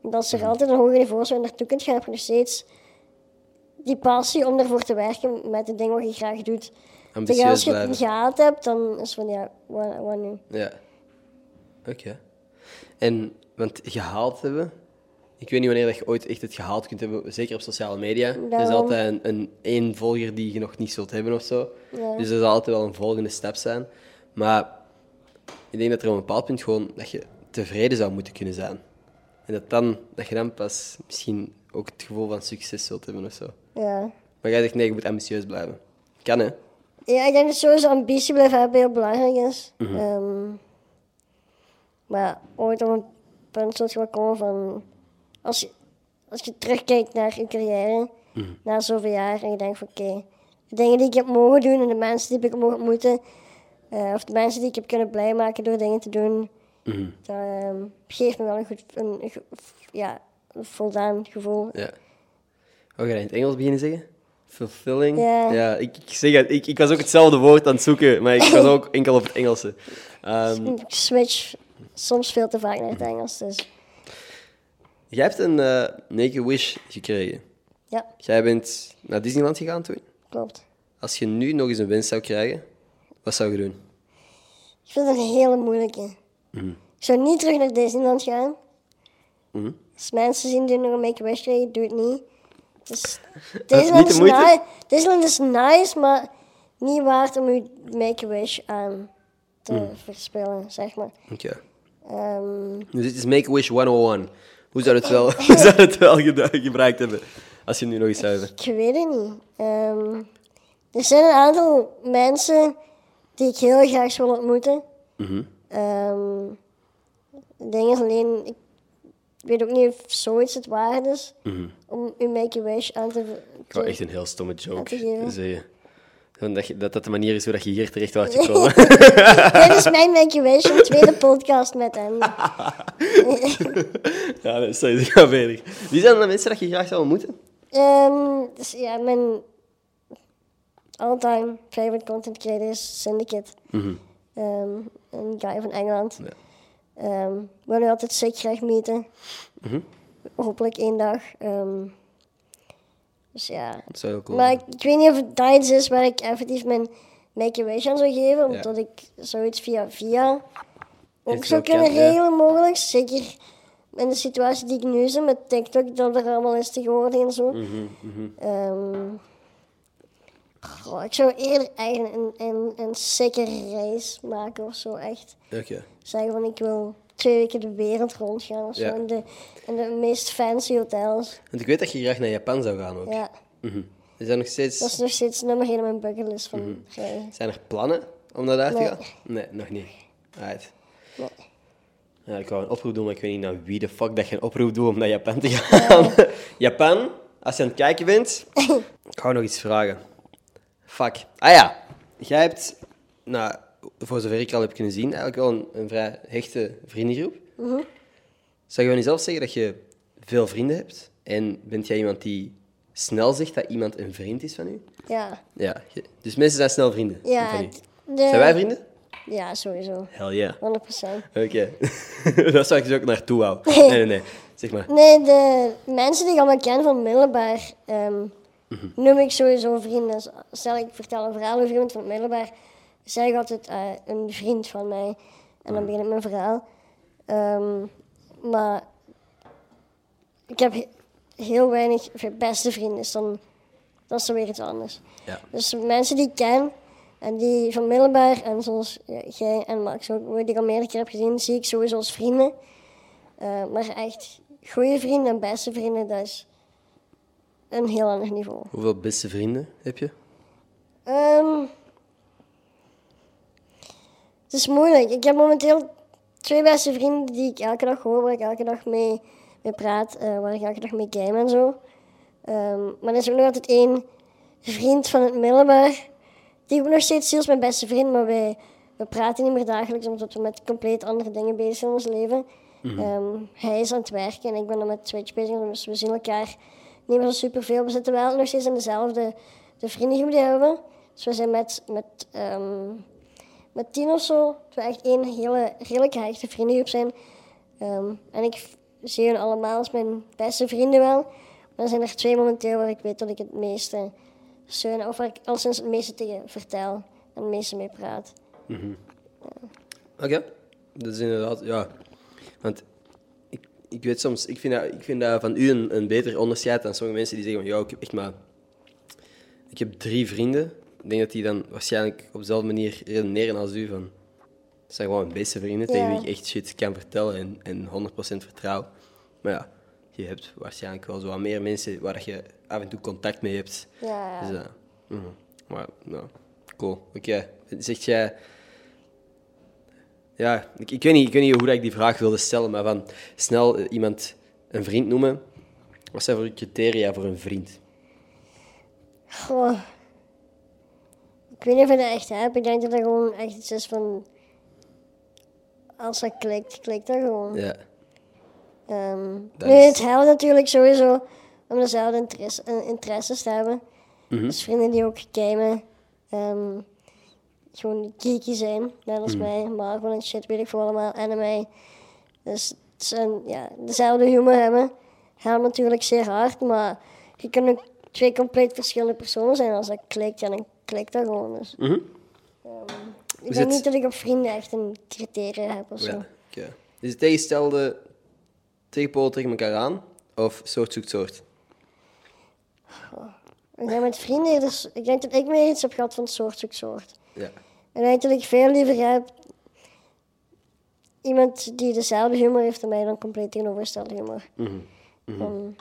Want als Mhm. er altijd een hoger niveau zou en naartoe kunt gaan, heb je nog steeds die passie om ervoor te werken met de dingen wat je graag doet. Terwijl als Ambitieus je het blijven. niet gehaald hebt, dan is van ja, wat, wat nu? Ja. Oké. En, want gehaald hebben... Ik weet niet wanneer dat je ooit echt het gehaald kunt hebben, zeker op sociale media. Er is Daarom. altijd een, een één volger die je nog niet zult hebben of zo. Ja. Dus er zal altijd wel een volgende stap zijn. Maar ik denk dat er op een bepaald punt gewoon dat je tevreden zou moeten kunnen zijn. En dat, dan, dat je dan pas misschien ook het gevoel van succes zult hebben of zo. Ja. Maar jij zegt nee, je moet ambitieus blijven. Kan hè? ja, ik denk dat sowieso ambitie blijven hebben heel belangrijk is. Ehm, maar ooit op een punt zult gekomen van... Als je, als je terugkijkt naar je carrière, na zoveel jaar, en je denkt van oké, de dingen die ik heb mogen doen en de mensen die ik heb mogen ontmoeten, eh, of de mensen die ik heb kunnen blij maken door dingen te doen, dat ehm, geeft me wel een goed, een, ge- ja, een voldaan gevoel. Ja. Wat ga je in het Engels beginnen zeggen? Fulfilling? Ja. Ja, ik, ik zeg het. Ik, ik was ook hetzelfde woord aan het zoeken, maar ik was ook enkel op het Engelse. Ehm, Ik switch soms veel te vaak naar het Engels, dus jij hebt een eh Naked Wish gekregen. ja, Jij bent naar Disneyland gegaan toen. klopt. Als je nu nog eens een wens zou krijgen, wat zou je doen? Ik vind het een hele moeilijke. Mhm. Ik zou niet terug naar Disneyland gaan. Mhm. Als mensen zien die nog een make-a-wish krijgen, doe het niet. Het is, Disneyland, de is moeite? ni- Disneyland is nice, maar niet waard om je make-a-wish aan te Mhm. verspillen, zeg maar. Oké. Ehm, Dus dit is Make-A-Wish 101. Hoe zou het wel, hoe zou het wel geda- gebruikt hebben als je nu nog eens zou hebben? Ik weet het niet. Ehm, er zijn een aantal mensen die ik heel graag wil ontmoeten. Mhm. Ehm, het ding is alleen, ik weet ook niet of zoiets het waard is om uw Make-A-Wish aan te... Mhm. Ik wou te- Oh, echt een heel stomme joke Laat ik hier. zeggen. Gewoon Dat, je- dat dat de manier is hoe dat je hier terecht wou gekomen. Dit is mijn Make-A-Wish, een tweede podcast met hem. ja, dat is sowieso gaan verder. Wie zijn de mensen dat je graag zou ontmoeten? Ehm, dus ja, mijn all-time favorite content creator is Syndicate. Ehm, een guy van Engeland. Mhm. Ja. Ehm, ik wil nu altijd zeker graag meten. Mhm. Hopelijk één dag. ehm. dus ja. Dat zou heel cool Maar zijn. ik, ik weet niet of het daar iets is waar ik effectief mijn make-a-wish aan zou geven. Ja. Omdat ik zoiets via via ook Heeft zou wel kunnen kent, ja. regelen mogelijk. Zeker in de situatie die ik nu zit met TikTok, dat er allemaal is tegenwoordig en zo. Mhm, Ehm, goh, ik zou eerder eigenlijk een, een, een sicke reis maken of zo, echt Oké. zeggen van ik wil twee weken de wereld rondgaan of zo. Ja. In, de, in de meest fancy hotels. Want ik weet dat je graag naar Japan zou gaan ook. Ja, Er zijn nog dat steeds... is nog steeds nummer één op mijn bucketlist van Mhm. reizen. Zijn er plannen om naar daar Nee. te gaan? Nee, nog niet. Alright. Nee. Ja, ik wou een oproep doen, maar ik weet niet naar wie de fuck dat je een oproep doet om naar Japan te gaan. Japan, als je aan het kijken bent, ik wou nog iets vragen. Fuck. Ah ja, jij hebt, nou, voor zover ik al heb kunnen zien, eigenlijk wel een, een vrij hechte vriendengroep. Mhm. Zou je van jezelf zeggen dat je veel vrienden hebt? En bent jij iemand die snel zegt dat iemand een vriend is van u? Ja, Ja, je- dus mensen zijn snel vrienden Ja, van u. d- de- Zijn wij vrienden? ja, sowieso. Hell yeah. 100%. Oké. dat zou ik dus ook naartoe houden. Nee, nee, nee. Zeg maar. Nee, de mensen die ik allemaal ken van middelbaar ehm, Mhm. noem ik sowieso vrienden. Dus Stel ik vertel een verhaal over iemand van het middelbaar, zeg ik altijd eh, een vriend van mij. En Mhm. dan begin ik mijn verhaal. Ehm, maar ik heb he- heel weinig v- beste vrienden, dus dan, dat is dan weer iets anders. Ja. Dus mensen die ik ken en die van middelbaar, en zoals ja, jij en Max ook, die ik al meerdere keer heb gezien, zie ik sowieso als vrienden. Eh, maar echt goede vrienden en beste vrienden, dat is een heel ander niveau. Hoeveel beste vrienden heb je? Ehm, het is moeilijk. Ik heb momenteel twee beste vrienden die ik elke dag hoor, waar ik elke dag mee, mee praat, eh, waar ik elke dag mee game en zo. Ehm, maar er is ook nog altijd één vriend van het middelbaar, die ik ook nog steeds zie als mijn beste vriend, maar wij, we praten niet meer dagelijks, omdat we met compleet andere dingen bezig zijn in ons leven. Ehm, hij is aan het werken en ik ben dan met Twitch bezig, dus we zien elkaar niet meer zo superveel. We zitten wel nog steeds in dezelfde de vriendengroep die we hebben. Dus we zijn met, met, ehm, met tien of zo, dat we echt één hele redelijk hechte vriendengroep zijn. Ehm, en ik v- zie hun allemaal als mijn beste vrienden wel. Maar er zijn er twee momenteel waar ik weet dat ik het meeste steun, of waar ik al sinds het meeste tegen vertel en het meeste mee praat. Oké. Dat is inderdaad, ja. Want ik, ik weet soms, ik vind, dat, ik vind dat van u een, een beter onderscheid dan sommige mensen die zeggen van, ja, ik heb echt maar... Ik heb drie vrienden. Ik denk dat die dan waarschijnlijk op dezelfde manier redeneren als u van... Het zijn gewoon beste vrienden tegen Ja. wie ik echt shit kan vertellen en, en 100% vertrouw. Maar ja, je hebt waarschijnlijk wel zo wat meer mensen waar dat je af en toe contact mee hebt. Ja, Dus, eh, mhm. Maar, nou, cool. Oké. Zegt jij... eh, Ja, ik, ik, weet niet, ik weet niet hoe dat ik die vraag wilde stellen, maar van snel eh, iemand een vriend noemen. Wat zijn voor criteria voor een vriend? Goh. Ik weet niet of ik dat echt heb. Ik denk dat dat gewoon echt iets is van... Als dat klikt, klikt dat gewoon. Ja. Ehm, Dat nu, is- het helpt natuurlijk sowieso om dezelfde interesse, eh, interesses te hebben. Mhm. Dus vrienden die ook gamen, ehm, gewoon geeky zijn, net als Mhm. mij, maar gewoon een shit, weet ik veel allemaal, anime. Dus het zijn, ja, dezelfde humor hebben, helpt natuurlijk zeer hard, maar je kunt ook twee compleet verschillende personen zijn als dat klikt, ja, dan klikt dat gewoon. Dus. Mhm. ehm, ik Is denk het- niet dat ik op vrienden echt een criteria heb of zo. ja. oké. Dus het tegenstelde tegenpolen tegen elkaar aan of soort zoekt soort? Ik ben met vrienden, dus ik denk dat ik meer iets heb gehad van soort zoek soort. Ja. En eigenlijk veel liever heb iemand die dezelfde humor heeft dan mij dan compleet tegenovergestelde humor. Mhm. Um,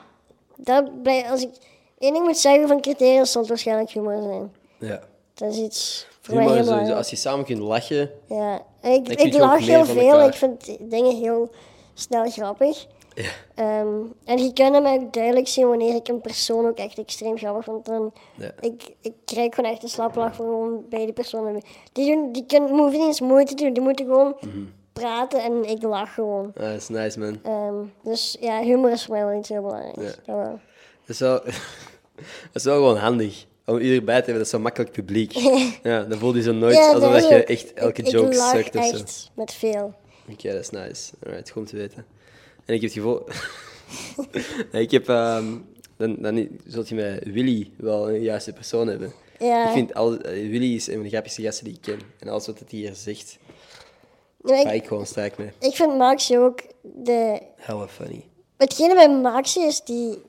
dat blij, als ik één ding moet zeggen van criteria, zal het waarschijnlijk humor zijn. ja. Dat is iets voor Humor mij is sowieso, heel belangrijk. als je samen kunt lachen. Ja. Ik, Dan ik, kun je ook lach meer heel van veel, elkaar. ik vind dingen heel snel grappig. Ja. Ehm, en je kunt hem ook duidelijk zien wanneer ik een persoon ook echt extreem grappig vond. Dan Ja. ik, ik krijg gewoon echt een slappe lach van gewoon bij die personen. Die, doen, die kunnen, hoeven niet eens moeite te doen, die moeten gewoon Mhm. praten en ik lach gewoon. Ah, dat is nice, man. Ehm, dus ja, humor is voor mij wel iets heel belangrijks. Ja. Dat wel. Dat is wel, dat is wel gewoon handig. Om iedereen bij te hebben, dat is zo makkelijk publiek. Ja, dan voel je zo nooit Ja, alsof dat dat is je ook. echt elke ik, joke ik lach sukt of zo. echt met veel. Oké, dat is nice. Alright, goed om te weten. En ik heb het gevoel... Nee, ik heb... ehm, dan, dan zult je met Willy wel een juiste persoon hebben. Ja. Ik vind al, eh, Willy is een van de grappigste gasten die ik ken. En alles wat het hier zegt, Ja, ga ik, ik gewoon sterk mee. ik vind Maxi ook de Hella funny. Hetgene bij Maxi is die.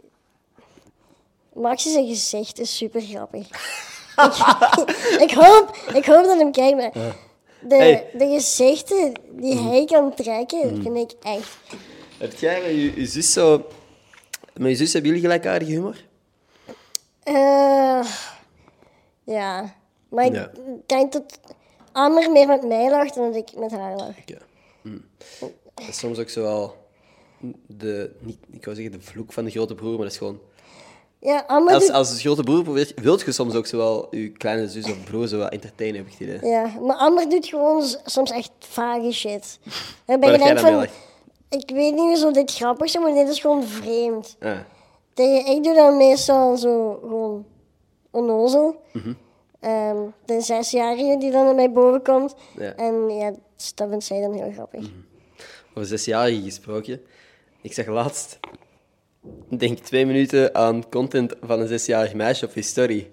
Maxi zijn gezicht is super grappig. ik, ik hoop, ik hoop dat hem kijkt, maar de, Hey. Mm. de gezichten die hij kan trekken, vind ik echt. Heb jij met je, je zus zo... Met je zus hebben jullie gelijkaardige humor? Eh, ja, maar ik Ja. denk dat Amber meer met mij lacht dan dat ik met haar lach. Ja. Oh. Dat is Hmm. soms ook zo wel de, niet, ik wou zeggen de vloek van de grote broer, maar dat is gewoon... Ja, Amber Als, doet, als grote broer probeert, wilt je soms ook zo wel je kleine zus of broer zo wel entertainen, heb ik het idee. ja, maar Amber doet gewoon s- soms echt vage shit. Waarbij Maar je dat jij denkt dan mee van, lacht. ik weet niet zo dit grappig is, maar dit is gewoon vreemd. Ah, Tegen- ik doe dan meestal zo gewoon onnozel. Mhm. Ehm, de zesjarige die dan naar mij boven komt. Ja. Mhm. En ja, dus dat vindt zij dan heel grappig. over zesjarige gesproken. Ik zag laatst, ik denk twee minuten aan content van een zesjarig meisje op History.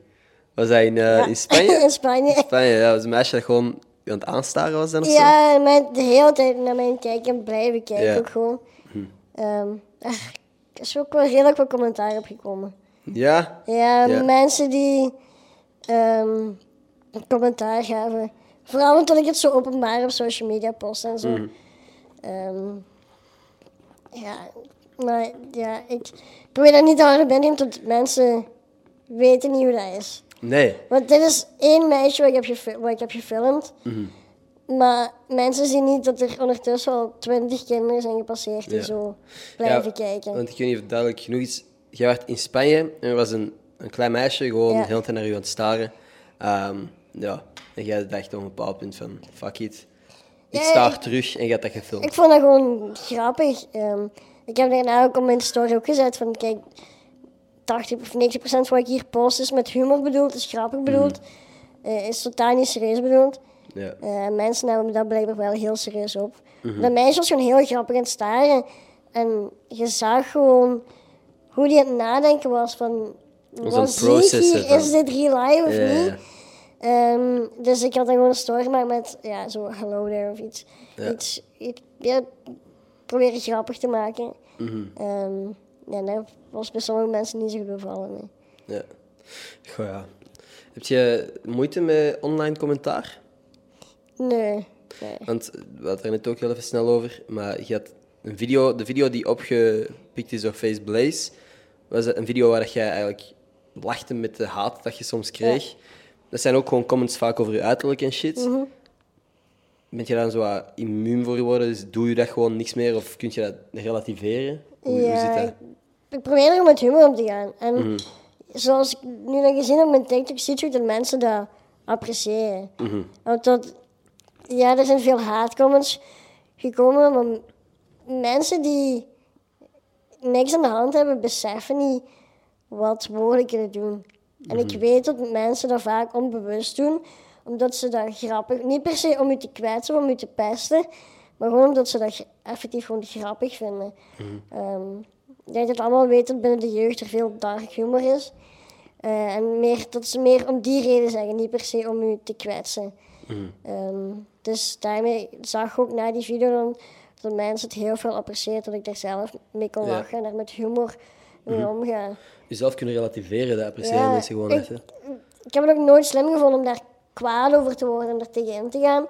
Was hij in, eh, in Spanje? In Spanje. Spanje, ja. was een meisje dat gewoon aan het aanstaren was dan of zo. Ja, en mij de hele tijd naar mij kijken en blijven kijken Ja. Mhm. ook gewoon. Ehm, er is ook wel redelijk wat commentaar op gekomen. Ja? Ja, Ja. mensen die ehm, commentaar gaven. Vooral omdat ik het zo openbaar op social media post en zo. Mhm. Ehm, ja, maar ja, ik probeer dat niet te hard binnen tot mensen weten niet hoe dat is. Nee. Want dit is één meisje wat ik heb, gefil- wat ik heb gefilmd. Mhm. Maar mensen zien niet dat er ondertussen al twintig kinderen zijn gepasseerd die Ja. zo blijven Ja, kijken. Want ik weet niet of het duidelijk genoeg is. Jij werd in Spanje en er was een, een klein meisje gewoon Ja. de hele tijd naar u aan het staren. Ehm, ja, en jij dacht op een bepaald punt van, fuck it. Ik Ja, staar ik- terug en je hebt dat gefilmd. Ik vond dat gewoon grappig. Ehm, ik heb daarna ook op mijn story ook gezet van kijk, 80 of 90 procent van wat ik hier post is met humor bedoeld, is grappig bedoeld, Mm. eh, is totaal niet serieus bedoeld. ja. Eh, mensen nemen dat blijkbaar wel heel serieus op. Mhm. Dat meisje was gewoon heel grappig aan het staren en je zag gewoon hoe die aan het nadenken was van was wat een zie ik proces hier, ervan. is dit real life of Ja, ja, niet? ja. Ehm, dus ik had dan gewoon een story gemaakt met ja, zo hello there of iets. Ja. iets, iets ja, proberen grappig te maken. Ehm, ja, daar was bij sommige mensen niet zo goed bevallen. nee. ja. Goh, ja. Heb je moeite met online commentaar? Nee. nee. Want eh, we hadden er net ook heel even snel over. Maar je had een video, de video die opgepikt is door Face Blaze, was een video waar dat jij eigenlijk lachte met de Mhm. haat dat je soms kreeg. Dat zijn ook gewoon comments vaak over je uiterlijk en shit. ben je dan zo wat immuun voor geworden? Dus doe je dat gewoon niks meer of kun je dat relativeren? Hoe, hoe zit dat? ik- Ik probeer er met humor om te gaan. En zoals ik nu nog gezien heb op mijn TikTok, zie je dat mensen dat appreciëren. Want dat, ja, er zijn veel haatcomments gekomen, maar m- mensen die niks aan de hand hebben, beseffen niet wat woorden kunnen doen. En ik weet dat mensen dat vaak onbewust doen, omdat ze dat grappig... Niet per se om u te kwetsen of om u te pesten, maar gewoon omdat ze dat gra- effectief gewoon grappig vinden. Ehm, ik denk dat we allemaal weten dat binnen de jeugd er veel dark humor is. Eh, en meer, dat ze meer om die reden zeggen, niet per se om u te kwetsen. Ehm, dus daarmee zag ik ook na die video dan dat mensen het heel veel appreciëren dat ik daar zelf mee kon Ja. lachen en daar met humor mee omgaan. Jezelf kunnen relativeren, dat appreciëren Ja, mensen gewoon ik- echt. hè. Ik heb het ook nooit slim gevonden om daar kwaad over te worden en er tegenin te gaan. Op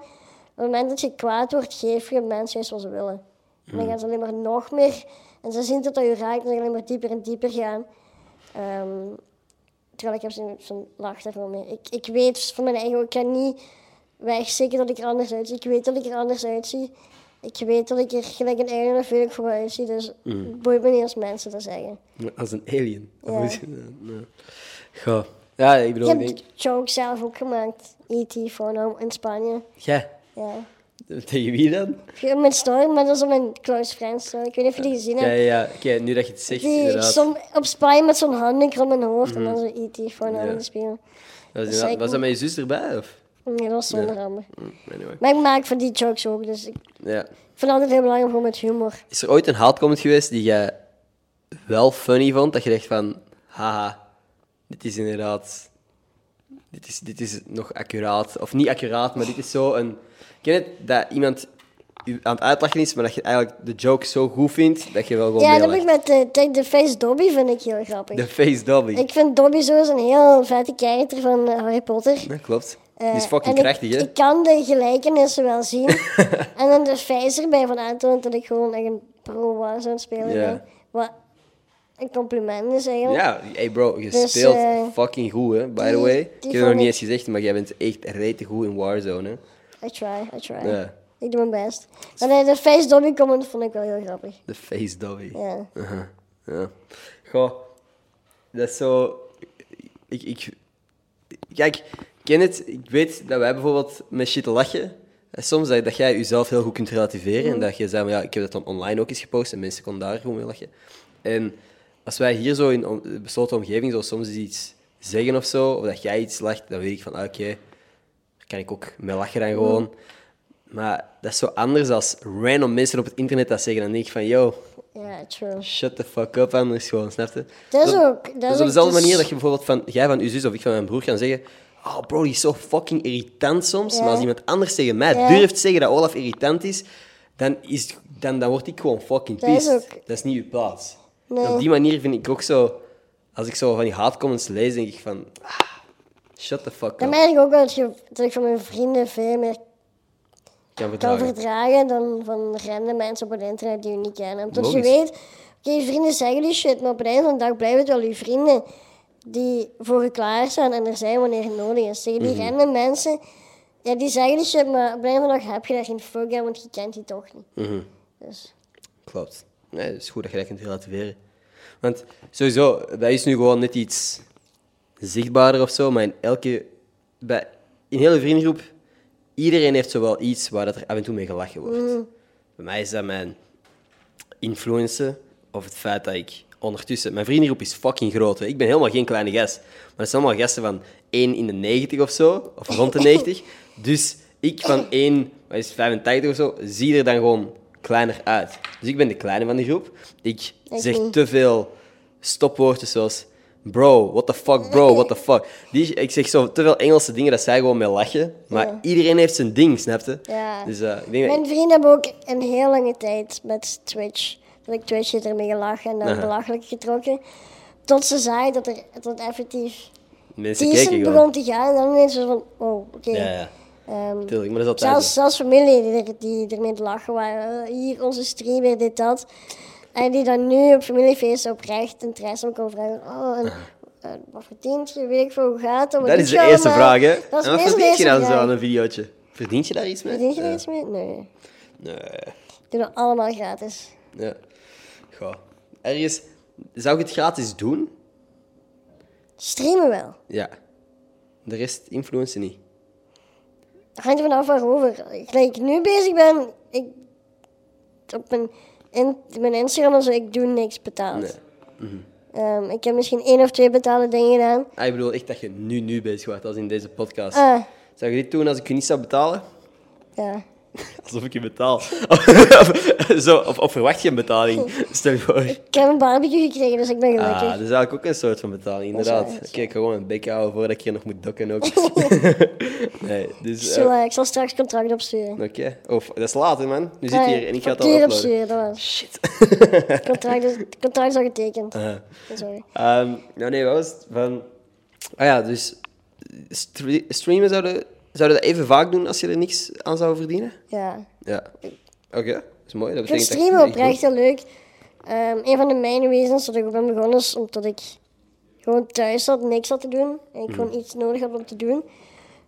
het moment dat je kwaad wordt, geef je mensen juist wat ze willen. En Mm. dan gaan ze alleen maar nog meer. En ze zien dat dat je raakt en ze gaan alleen maar dieper en dieper gaan. Ehm, terwijl ik heb zo'n- zo'n lach daar gewoon mee. Ik, ik weet van mijn eigen, ik kan niet wegzeker dat ik er anders uitzie. Ik weet dat ik er anders uitzie. Ik weet dat ik er gelijk een einde of weet ik voor uitzie. Dus Mm. het boeit me niet als mensen dat zeggen. Als een alien. Ja. Of hoe- Ja. Goh. Ja, ik Ik bedoel, ik heb denk... de joke zelf ook gemaakt. E.T. Phono in Spanje. Ja, Ja. tegen wie dan? Mijn story, maar dat is op mijn close friends story. Ik weet niet of je die gezien Ja, ja, hebt. ja. Oké, nu dat je het zegt, Die inderdaad. Mhm. som, op Spanje met zo'n handdoek rond mijn hoofd en dan zo'n E.T. voor Ja. in de spiegel. Was, is inderdaad- was eigenlijk- dat mijn zus erbij? Of? Nee, Mm, dat was zonder handen. Hm, Anyway. Maar ik maak van die jokes ook, dus ik Ja. vind het altijd heel belangrijk om gewoon met humor. Is er ooit een haatcomment geweest die jij wel funny vond? Dat je dacht van, haha, dit is inderdaad... Dit is, dit is nog accuraat. Of niet accuraat, maar dit is zo een... Ken je het? Dat iemand u aan het uitlachen is, maar dat je eigenlijk de joke zo goed vindt, dat je wel gewoon Ja, meelacht. dat heb ik met eh, Take the Face Dobby vind ik heel grappig. Oh, De face Dobby. Ik vind Dobby sowieso een heel vette karakter van eh, Harry Potter. Dat klopt. Eh, die is en fucking ik- krachtig, hè? Ik kan de gelijkenissen wel zien. en dan de feis erbij van aantonen dat ik gewoon echt een pro was aan het spelen. Ja. ben. Wat een compliment is eigenlijk. Ja, hey bro, je Dus, speelt eh, fucking goed, hè, by the die- way. die Ik heb het vond nog niet ik- eens gezegd, maar jij bent echt rete goed in Warzone, hè. I try, I try. Ja. Ik doe mijn best. Maar de, de face Dobby comment vond ik wel heel grappig. De face Dobby. Ja. Uh-huh, ja. Goh, dat is zo... Ik, ik... Kijk, ik ken het. Ik weet dat wij bijvoorbeeld met shit lachen. En soms dat, dat jij jezelf heel goed kunt relativeren. En dat je zei, maar ja, ik heb dat dan online ook eens gepost. En mensen konden daar gewoon mee lachen. En als wij hier zo in een besloten omgeving zo soms iets zeggen of zo. Of dat jij iets lacht, dan weet ik van, ah, oké, daar kan ik ook mee lachen dan gewoon. Maar dat is zo anders als random mensen op het internet dat zeggen. Dan denk ik van, yo, Ja, true. Shut the fuck up, anders gewoon, snap je? Dat is ook- dat dus is op ook dezelfde dus- manier dat je bijvoorbeeld van jij van je zus of ik van mijn broer kan zeggen. Oh bro, die is zo fucking irritant soms. Ja. Maar als iemand anders tegen mij Ja. durft zeggen dat Olaf irritant is, dan, is, dan, dan word ik gewoon fucking Dat is pissed. ook- Dat is niet uw plaats. En Nee. op die manier vind ik ook zo, als ik zo van die haatcomments lees, denk ik van. ah, shut the fuck Dan up. merk ik ook wel dat, je, dat ik van mijn vrienden veel meer Ik kan kan verdragen. verdragen dan van random mensen op het internet die je niet kennen. Omdat je Logisch. weet, oké, je vrienden zeggen die shit, maar op het einde van de dag blijven het wel je vrienden die voor je klaarstaan en er zijn wanneer het nodig is. Tegen Mhm. die random mensen, ja, die zeggen die shit, maar op het einde van de dag heb je daar geen fuck aan, want je kent die toch niet. Mhm. Dus, Klopt. Nee, het is goed dat je dat kunt relativeren. Want sowieso, dat is nu gewoon net iets zichtbaarder of zo, maar in elke... Bij, in heel de vriendengroep, iedereen heeft zo wel iets waar dat er af en toe mee gelachen wordt. Bij mij is dat mijn influencer of het feit dat ik ondertussen... Mijn vriendengroep is fucking groot. hè. Ik ben helemaal geen kleine gast. Maar het zijn allemaal gasten van 1 in de 90 of zo, of rond de 90. Dus ik van 1, wat is het, 85 of zo, zie er dan gewoon kleiner uit. Dus ik ben de kleine van die groep. Ik zeg niet. te veel stopwoordjes zoals... Bro, what the fuck, bro, what the fuck. Die, ik zeg zo te veel Engelse dingen dat zij gewoon mee lachen. Maar Ja. iedereen heeft zijn ding, snap je? Ja. Dus eh, ik denk dat mijn vrienden hebben ook een heel lange tijd met Twitch, dat ik Twitch heb ermee gelachen en dan Aha. belachelijk getrokken, tot ze zeiden dat er dat effectief mensen kijken decent gewoon. begon te gaan en dan ineens zo van, oh, oké. Ja, ja. Ehm, Tuurlijk, maar dat is altijd zelfs, zo. zelfs familie die, er, die ermee aan het lachen waren. Eh, Hier, onze streamer, dit, dat. En die dan nu op familiefeesten oprecht interesse om komen vragen. Oh, en, eh, wat verdient je? Weet ik veel, hoe gaat het? Wat Dat doe is je de eerste allemaal? vraag, hè? Dat is en wat meestal de verdient je eerste dan zo vraag. aan een videootje? Verdient je daar iets mee? Verdien je er Ja. iets mee? Nee. Nee. Ik doe dat allemaal gratis. Ja. Goh. Ergens, zou ik het gratis doen? Streamen wel. Ja. De rest influencer niet. hangt er vanaf waarover. Ik- Like, ik nu bezig ben, ik, op mijn, in, mijn Instagram en zo, ik doe niks betaald. Nee. Ehm, ik heb misschien één of twee betaalde dingen gedaan. Ah, ik bedoel echt dat je nu, nu bezig wordt, als in deze podcast. Ah. Zou je dit doen als ik je niet zou betalen? Ja. Alsof ik je betaal. Zo, of, of verwacht je een betaling? Stel je voor. Ik heb een barbecue gekregen, dus ik ben Ah, gelukkig. dat is eigenlijk ook een soort van betaling, is waar, Oh. inderdaad. dat is Oké, ik kan gewoon een bek houden voordat ik hier nog moet dokken ook. nee, ik, dus... eh, zal, eh, ik zal straks contract opsturen. Oké. Of, dat is later, man. Nu zit Ah, je hier en ik ga het al factuur uploaden. opsturen, dat was. Shit. Het Contract is, het contract is al getekend. Sorry. Ehm, nou nee, wat was het? Van... Ah ja, dus... stre- streamen zouden... Zouden dat even vaak doen als je er niks aan zou verdienen? Ja. Ja. Oké, dat is mooi. Dat Ik betekent dat vind je streamen echt oprecht heel leuk. Ehm, een van de main reasons dat ik ook ben begonnen is omdat ik gewoon thuis zat, niks had te doen. En ik Hmm. gewoon iets nodig had om te doen.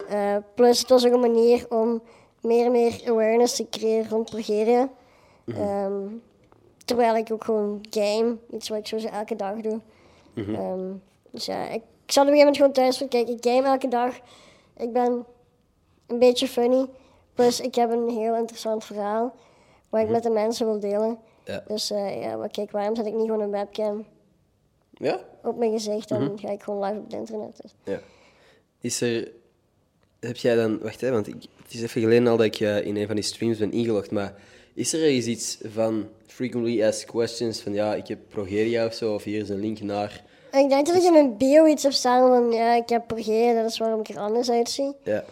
Eh, plus het was ook een manier om meer en meer awareness te creëren rond Progeria. Mhm. Ehm, terwijl ik ook gewoon game, iets wat ik sowieso elke dag doe. Mhm. Ehm, dus ja, ik, ik zat op een gegeven moment gewoon thuis van, kijk, ik game elke dag. Ik ben een beetje funny. Plus ik heb een heel interessant verhaal wat ik met de mensen wil delen. Ja. Dus eh, ja, maar kijk, waarom zet ik niet gewoon een webcam Ja? op mijn gezicht en ga ik gewoon live op het internet? Dus Ja. Is er... Heb jij dan... Wacht, hè, want ik, het is even geleden al dat ik eh, in een van die streams ben ingelogd, maar is er eens iets van frequently asked questions, van ja, ik heb progeria of zo, of hier is een link naar... Ik denk dat ik in mijn bio iets heb staan van, ja, ik heb progeer, dat is waarom ik er anders uitzie. Ja.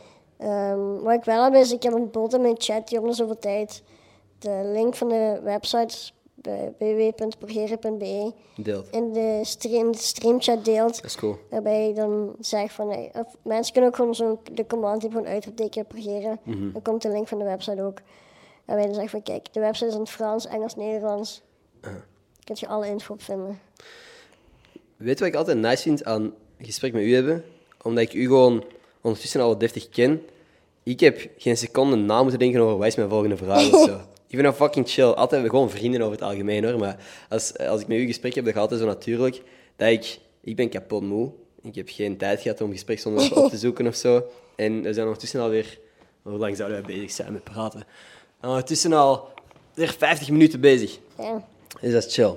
Ehm, wat ik wel heb is, ik heb een bot in mijn chat die om de zoveel tijd de link van de website bij www.progeren.be Deelt. in de stream, streamchat deelt. Dat is cool. Waarbij je dan zegt van, hey, of mensen kunnen ook gewoon zo'n de command die gewoon uitroepteken pregeren. Dan komt de link van de website ook. Waarbij je dan zegt van, kijk, de website is in het Frans, Engels, Nederlands. Dan kun je alle info op vinden. Weet je wat ik altijd nice vind aan een gesprek met u hebben? Omdat ik u gewoon ondertussen al wat deftig ken. Ik heb geen seconde na moeten denken over wat is mijn volgende vraag of zo. Ik vind dat fucking chill. Altijd gewoon vrienden over het algemeen hoor. Maar als, als ik met u een gesprek heb, dan gaat het altijd zo natuurlijk dat ik... Ik ben kapot moe. Ik heb geen tijd gehad om gespreksonderwerpen op te zoeken of zo. En we zijn ondertussen alweer... Hoe lang zouden wij bezig zijn met praten? We zijn Ondertussen al weer 50 minuten bezig. Ja, Dus dat is chill.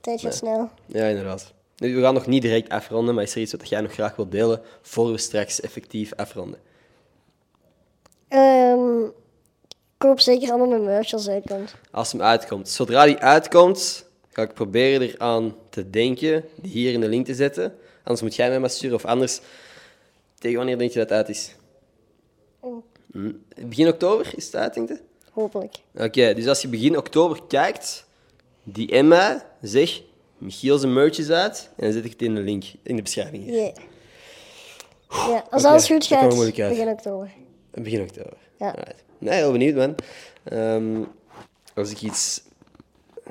tijd gaat snel. Ja, inderdaad. Nu, We gaan nog niet direct afronden, maar is er iets wat jij nog graag wilt delen voor we straks effectief afronden? Ehm, koop zeker allemaal mijn merch als het uitkomt. Als hem uitkomt. Zodra die uitkomt, ga ik proberen eraan te denken, die hier in de link te zetten. Anders moet jij mij maar sturen of anders. Tegen wanneer denk je dat het uit is? Hm, Begin oktober is het uit, denk je? Hopelijk. Oké, dus als je begin oktober kijkt, DM mij, zeg Michiel zijn merch is uit en dan zet ik het in de link, in de beschrijving hier. Yeah. Ja, als oké, alles goed dat kwam gaat, moeilijk uit. begin oktober. Begin oktober. Ja. Alright. Nee, heel benieuwd, man. Ehm, als ik iets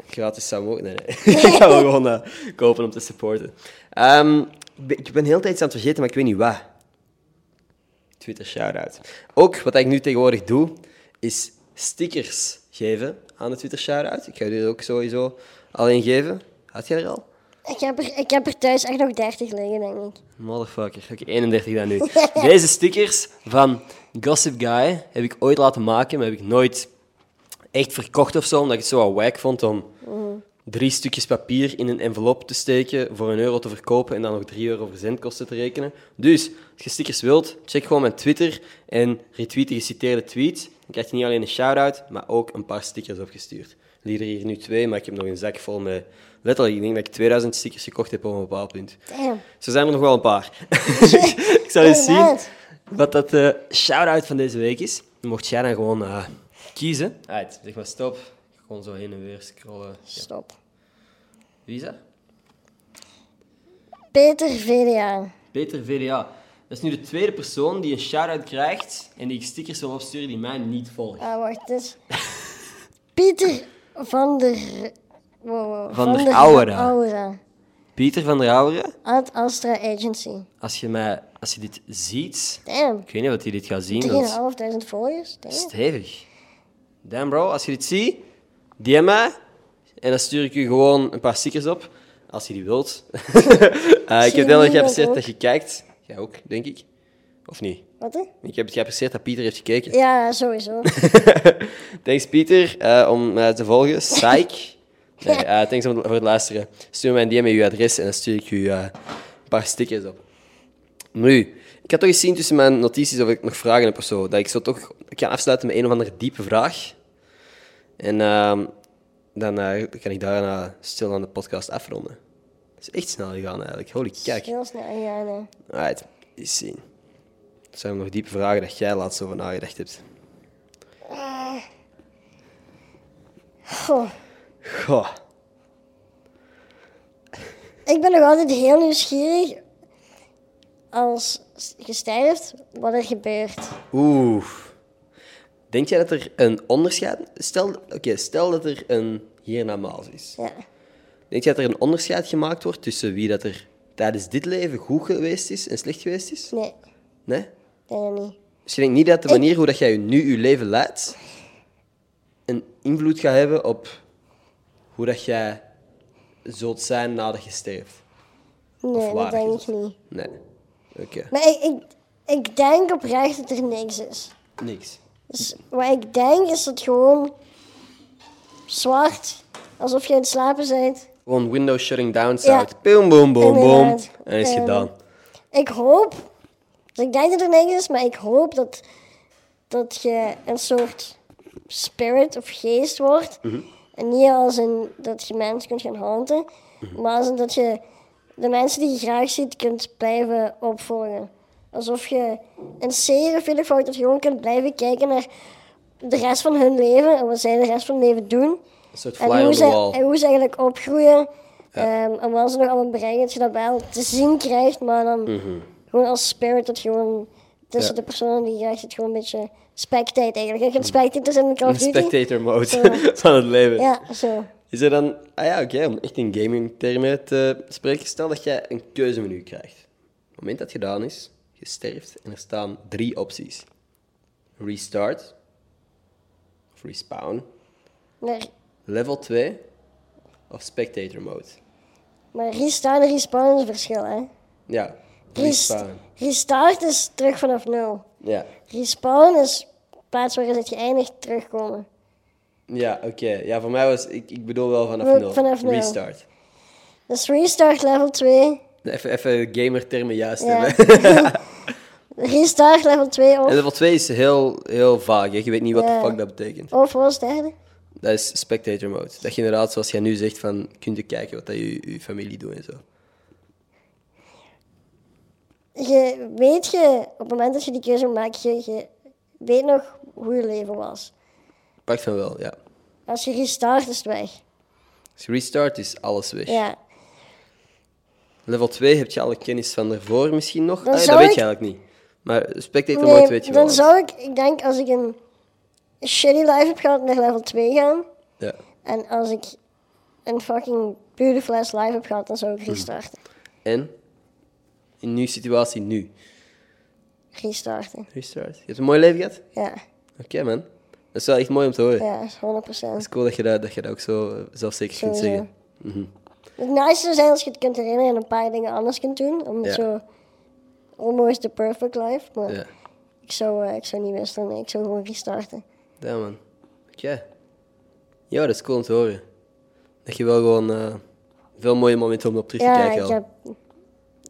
gratis zou mogen... Nee, nee. ik ga wel gewoon eh, kopen om te supporten. Ehm, ik ben- ik ben heel de tijd iets aan het vergeten, maar ik weet niet wat. Twitter shout-out. Ook wat ik nu tegenwoordig doe, is stickers geven aan de Twitter shout-out. Ik ga jullie er ook sowieso al één geven. Had jij er al? Ik heb, er, ik heb er thuis echt nog 30 liggen, denk ik. Motherfucker. Oké, 31 dan nu. Deze stickers van Gossip Guy heb ik ooit laten maken, maar heb ik nooit echt verkocht of zo, omdat ik het zo wat wack vond om drie stukjes papier in een envelop te steken, voor een euro te verkopen en dan nog drie euro verzendkosten te rekenen. Dus, als je stickers wilt, check gewoon mijn Twitter en retweet de geciteerde tweet. Dan krijg je niet alleen een shout-out, maar ook een paar stickers opgestuurd. Lieder hier nu twee, maar ik heb nog een zak vol met... Letterlijk, ik denk dat ik 2000 stickers gekocht heb op een bepaald punt. Damn. Zo zijn er nog wel een paar. ik zal eens zien Inderdaad. wat dat de shout-out van deze week is. Dan mocht jij dan gewoon eh, kiezen. Uit, zeg maar stop. Gewoon zo heen en weer scrollen. Stop. Wie is dat? Peter VDA. Peter VDA. Dat is nu de tweede persoon die een shout-out krijgt en die ik stickers wil opsturen die mij niet volgen. Ah, wacht, het is... Pieter van der... Wow, wow, Van der Aura. Aura. Pieter van der Houweren, Ad Astra Agency. als je, mij, als je dit ziet... Damn. Ik weet niet wat je dit gaat zien. Dat is 3.500 volgers. Damn. stevig. Damn bro, als je dit ziet, DM mij. En dan stuur ik je gewoon een paar stickers op. Als je die wilt. Eh, ik Zie je heb heel nu erg ook? geapprecieerd dat je kijkt. Jij ook, denk ik. Of niet? Wat hè? Ik heb het geapprecieerd dat Pieter heeft gekeken. Ja, sowieso. Thanks Pieter eh, om mij te volgen. Psych. Nee, eh, thanks om- voor het luisteren. Stuur mij een DM met je adres en dan stuur ik je eh, een paar stickers op. Nu, ik had toch eens zien tussen mijn notities of ik nog vragen heb of zo. Dat ik zo toch kan afsluiten met een of andere diepe vraag. En ehm, dan eh, kan ik daarna stil aan de podcast afronden. Dat is echt snel gegaan eigenlijk. Holy kijk. Heel snel, ja, nee. Right, eens zien. Dat zijn nog diepe vragen dat jij laatst over nagedacht hebt. Goh. Goh. Ik ben nog altijd heel nieuwsgierig als je sterft, wat er gebeurt. Oeh. Denk jij dat er een onderscheid... Stel, oké, stel dat er een hiernamaals is. Ja. Denk jij dat er een onderscheid gemaakt wordt tussen wie dat er tijdens dit leven goed geweest is en slecht geweest is? Nee, Nee? nee, niet. Dus je denkt niet dat de manier hoe dat jij nu je leven leidt een invloed gaat hebben op hoe dat jij zult zijn nadat je sterft? Of Nee, waar dat denk is ik niet. Nee. Oké. Maar ik, ik, ik denk oprecht dat er niks is. Niks. Dus wat ik denk is dat gewoon zwart, alsof je in het slapen bent. Gewoon Windows shutting down Ja. sound. Boom, boom, boom, boom. Inderdaad. En is Ehm, gedaan. Ik hoop, dus ik denk dat er niks is, maar ik hoop dat, dat je een soort spirit of geest wordt. En niet als in dat je mensen kunt gaan haunten, maar als in dat je de mensen die je graag ziet kunt blijven opvolgen. Alsof je een serie of veelvoud dat je gewoon kunt blijven kijken naar de rest van hun leven en wat zij de rest van hun leven doen. Een soort fly En on hoe, the ze, wall. en hoe ze eigenlijk opgroeien. ehm, en wat ze nog allemaal bereiken. Dat je dat wel te zien krijgt. Maar dan gewoon als spirit. Dat gewoon tussen Mhm. Ja. Mhm. de personen die je krijgt. Het gewoon een beetje spectate eigenlijk. Je kunt spectate zijn in Call of Een Duty. spectator mode Zo. van het leven. Ja, zo. Is er dan, ah ja, oké, om echt in gaming termen te spreken, stel dat jij een keuzemenu krijgt. Op het moment dat het gedaan is, je sterft en er staan drie opties: restart, of respawn, Maar, level 2 of spectator mode. maar restart en respawn is een verschil, hè. Ja, Rest- respawn. restart is terug vanaf nul. Ja, Respawn is plaats waar je bent geëindigd terugkomen. ja oké. Ja, voor mij was, ik, ik bedoel wel vanaf Wel, nul. vanaf nul. Restart. Dus restart level 2. Even, even gamer-termen juist Ja. hebben. Restart level 2 En of... level 2 is heel, heel vaag. hè. Je weet niet wat Ja. de fuck dat betekent. Of wat was het derde? Dat is spectator mode. Dat je inderdaad, zoals jij nu zegt, van kunt je kijken wat dat je, je familie doet en zo. je weet je, op het moment dat je die keuze maakt, je, je weet nog hoe je leven was. Pak van wel, ja. Als je restart is het weg. Dus restart is alles weg. Ja. Level 2 heb je alle kennis van daarvoor misschien nog. Dan Ah, ja, dat zou weet ik- je eigenlijk niet. Maar spectator mode Nee, weet je wel. dan zou ik, ik denk als ik een shitty life heb gehad, naar level 2 gaan. Ja. En als ik een fucking beautiful ass life heb gehad, dan zou Hm. ik restarten. En? In nu situatie, nu. Restarten. Restart. Je hebt een mooi leven gehad? Ja, Oké, man. Dat is wel echt mooi om te horen. Het ja, 100%. is cool dat je dat, dat, je dat ook zo eh, zelfzeker kunt Sowieso. zeggen. Mhm. Het nice zou zijn als je het kunt herinneren en een paar dingen anders kunt doen. Om Ja. zo almost the perfect life. Maar Ja. Ik zou, eh, ik zou niet wisselen, nee. ik zou gewoon restarten. Ja, man. Oké. Ja, dat is cool om te horen. Dat je wel gewoon eh, veel mooie momenten om op terug te Ja, kijken ik, al. heb,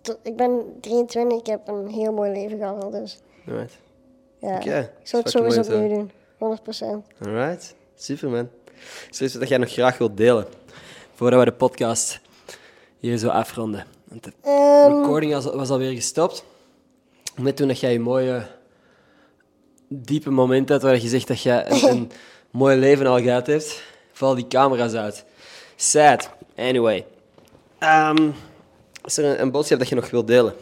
tot- ik ben 23, ik heb een heel mooi leven gehad al, dus Alright. ja. Oké, Ik zou fucking het sowieso mooi zo. opnieuw doen, 100%. Alright. Super, man. Is er iets wat jij nog graag wilt delen? Voordat we de podcast hier zo afronden. Want de Ehm, recording was, was alweer gestopt. Net toen dat jij je mooie, diepe moment had waar je zegt dat jij een, een mooi leven al gehad hebt, val die camera's uit. Sad. Anyway. Ehm, is er een, een boodschap dat je nog wilt delen?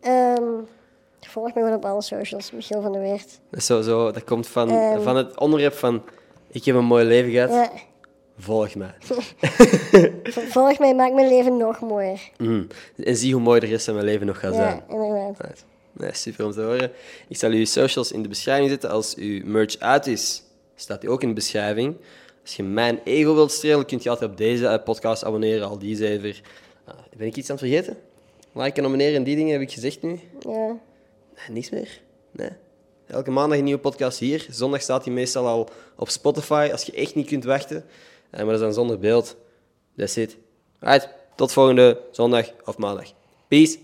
ehm, volg me gewoon op alle socials, Michiel van der Weert. Dat, is zo, zo, dat komt van, Ehm. van het onderwerp van ik heb een mooi leven gehad. Ja, Volg mij. Volg mij, maak mijn leven nog mooier. Mm. En zie hoe mooi de rest van mijn leven nog gaat zijn. Ja, inderdaad. Right. Nee, super om te horen. Ik zal uw socials in de beschrijving zetten. Als uw merch uit is, staat die ook in de beschrijving. Als je mijn ego wilt strelen, kun je altijd op deze eh, podcast abonneren. Al die zever. Ah, ben ik iets aan het vergeten? Liken, abonneren en die dingen heb ik gezegd nu. Ja. Nee, niks meer. Nee. Elke maandag een nieuwe podcast hier. Zondag staat die meestal al op Spotify, als je echt niet kunt wachten. Eh, maar dat is dan zonder beeld. That's it. Right. Tot volgende zondag of maandag. Peace.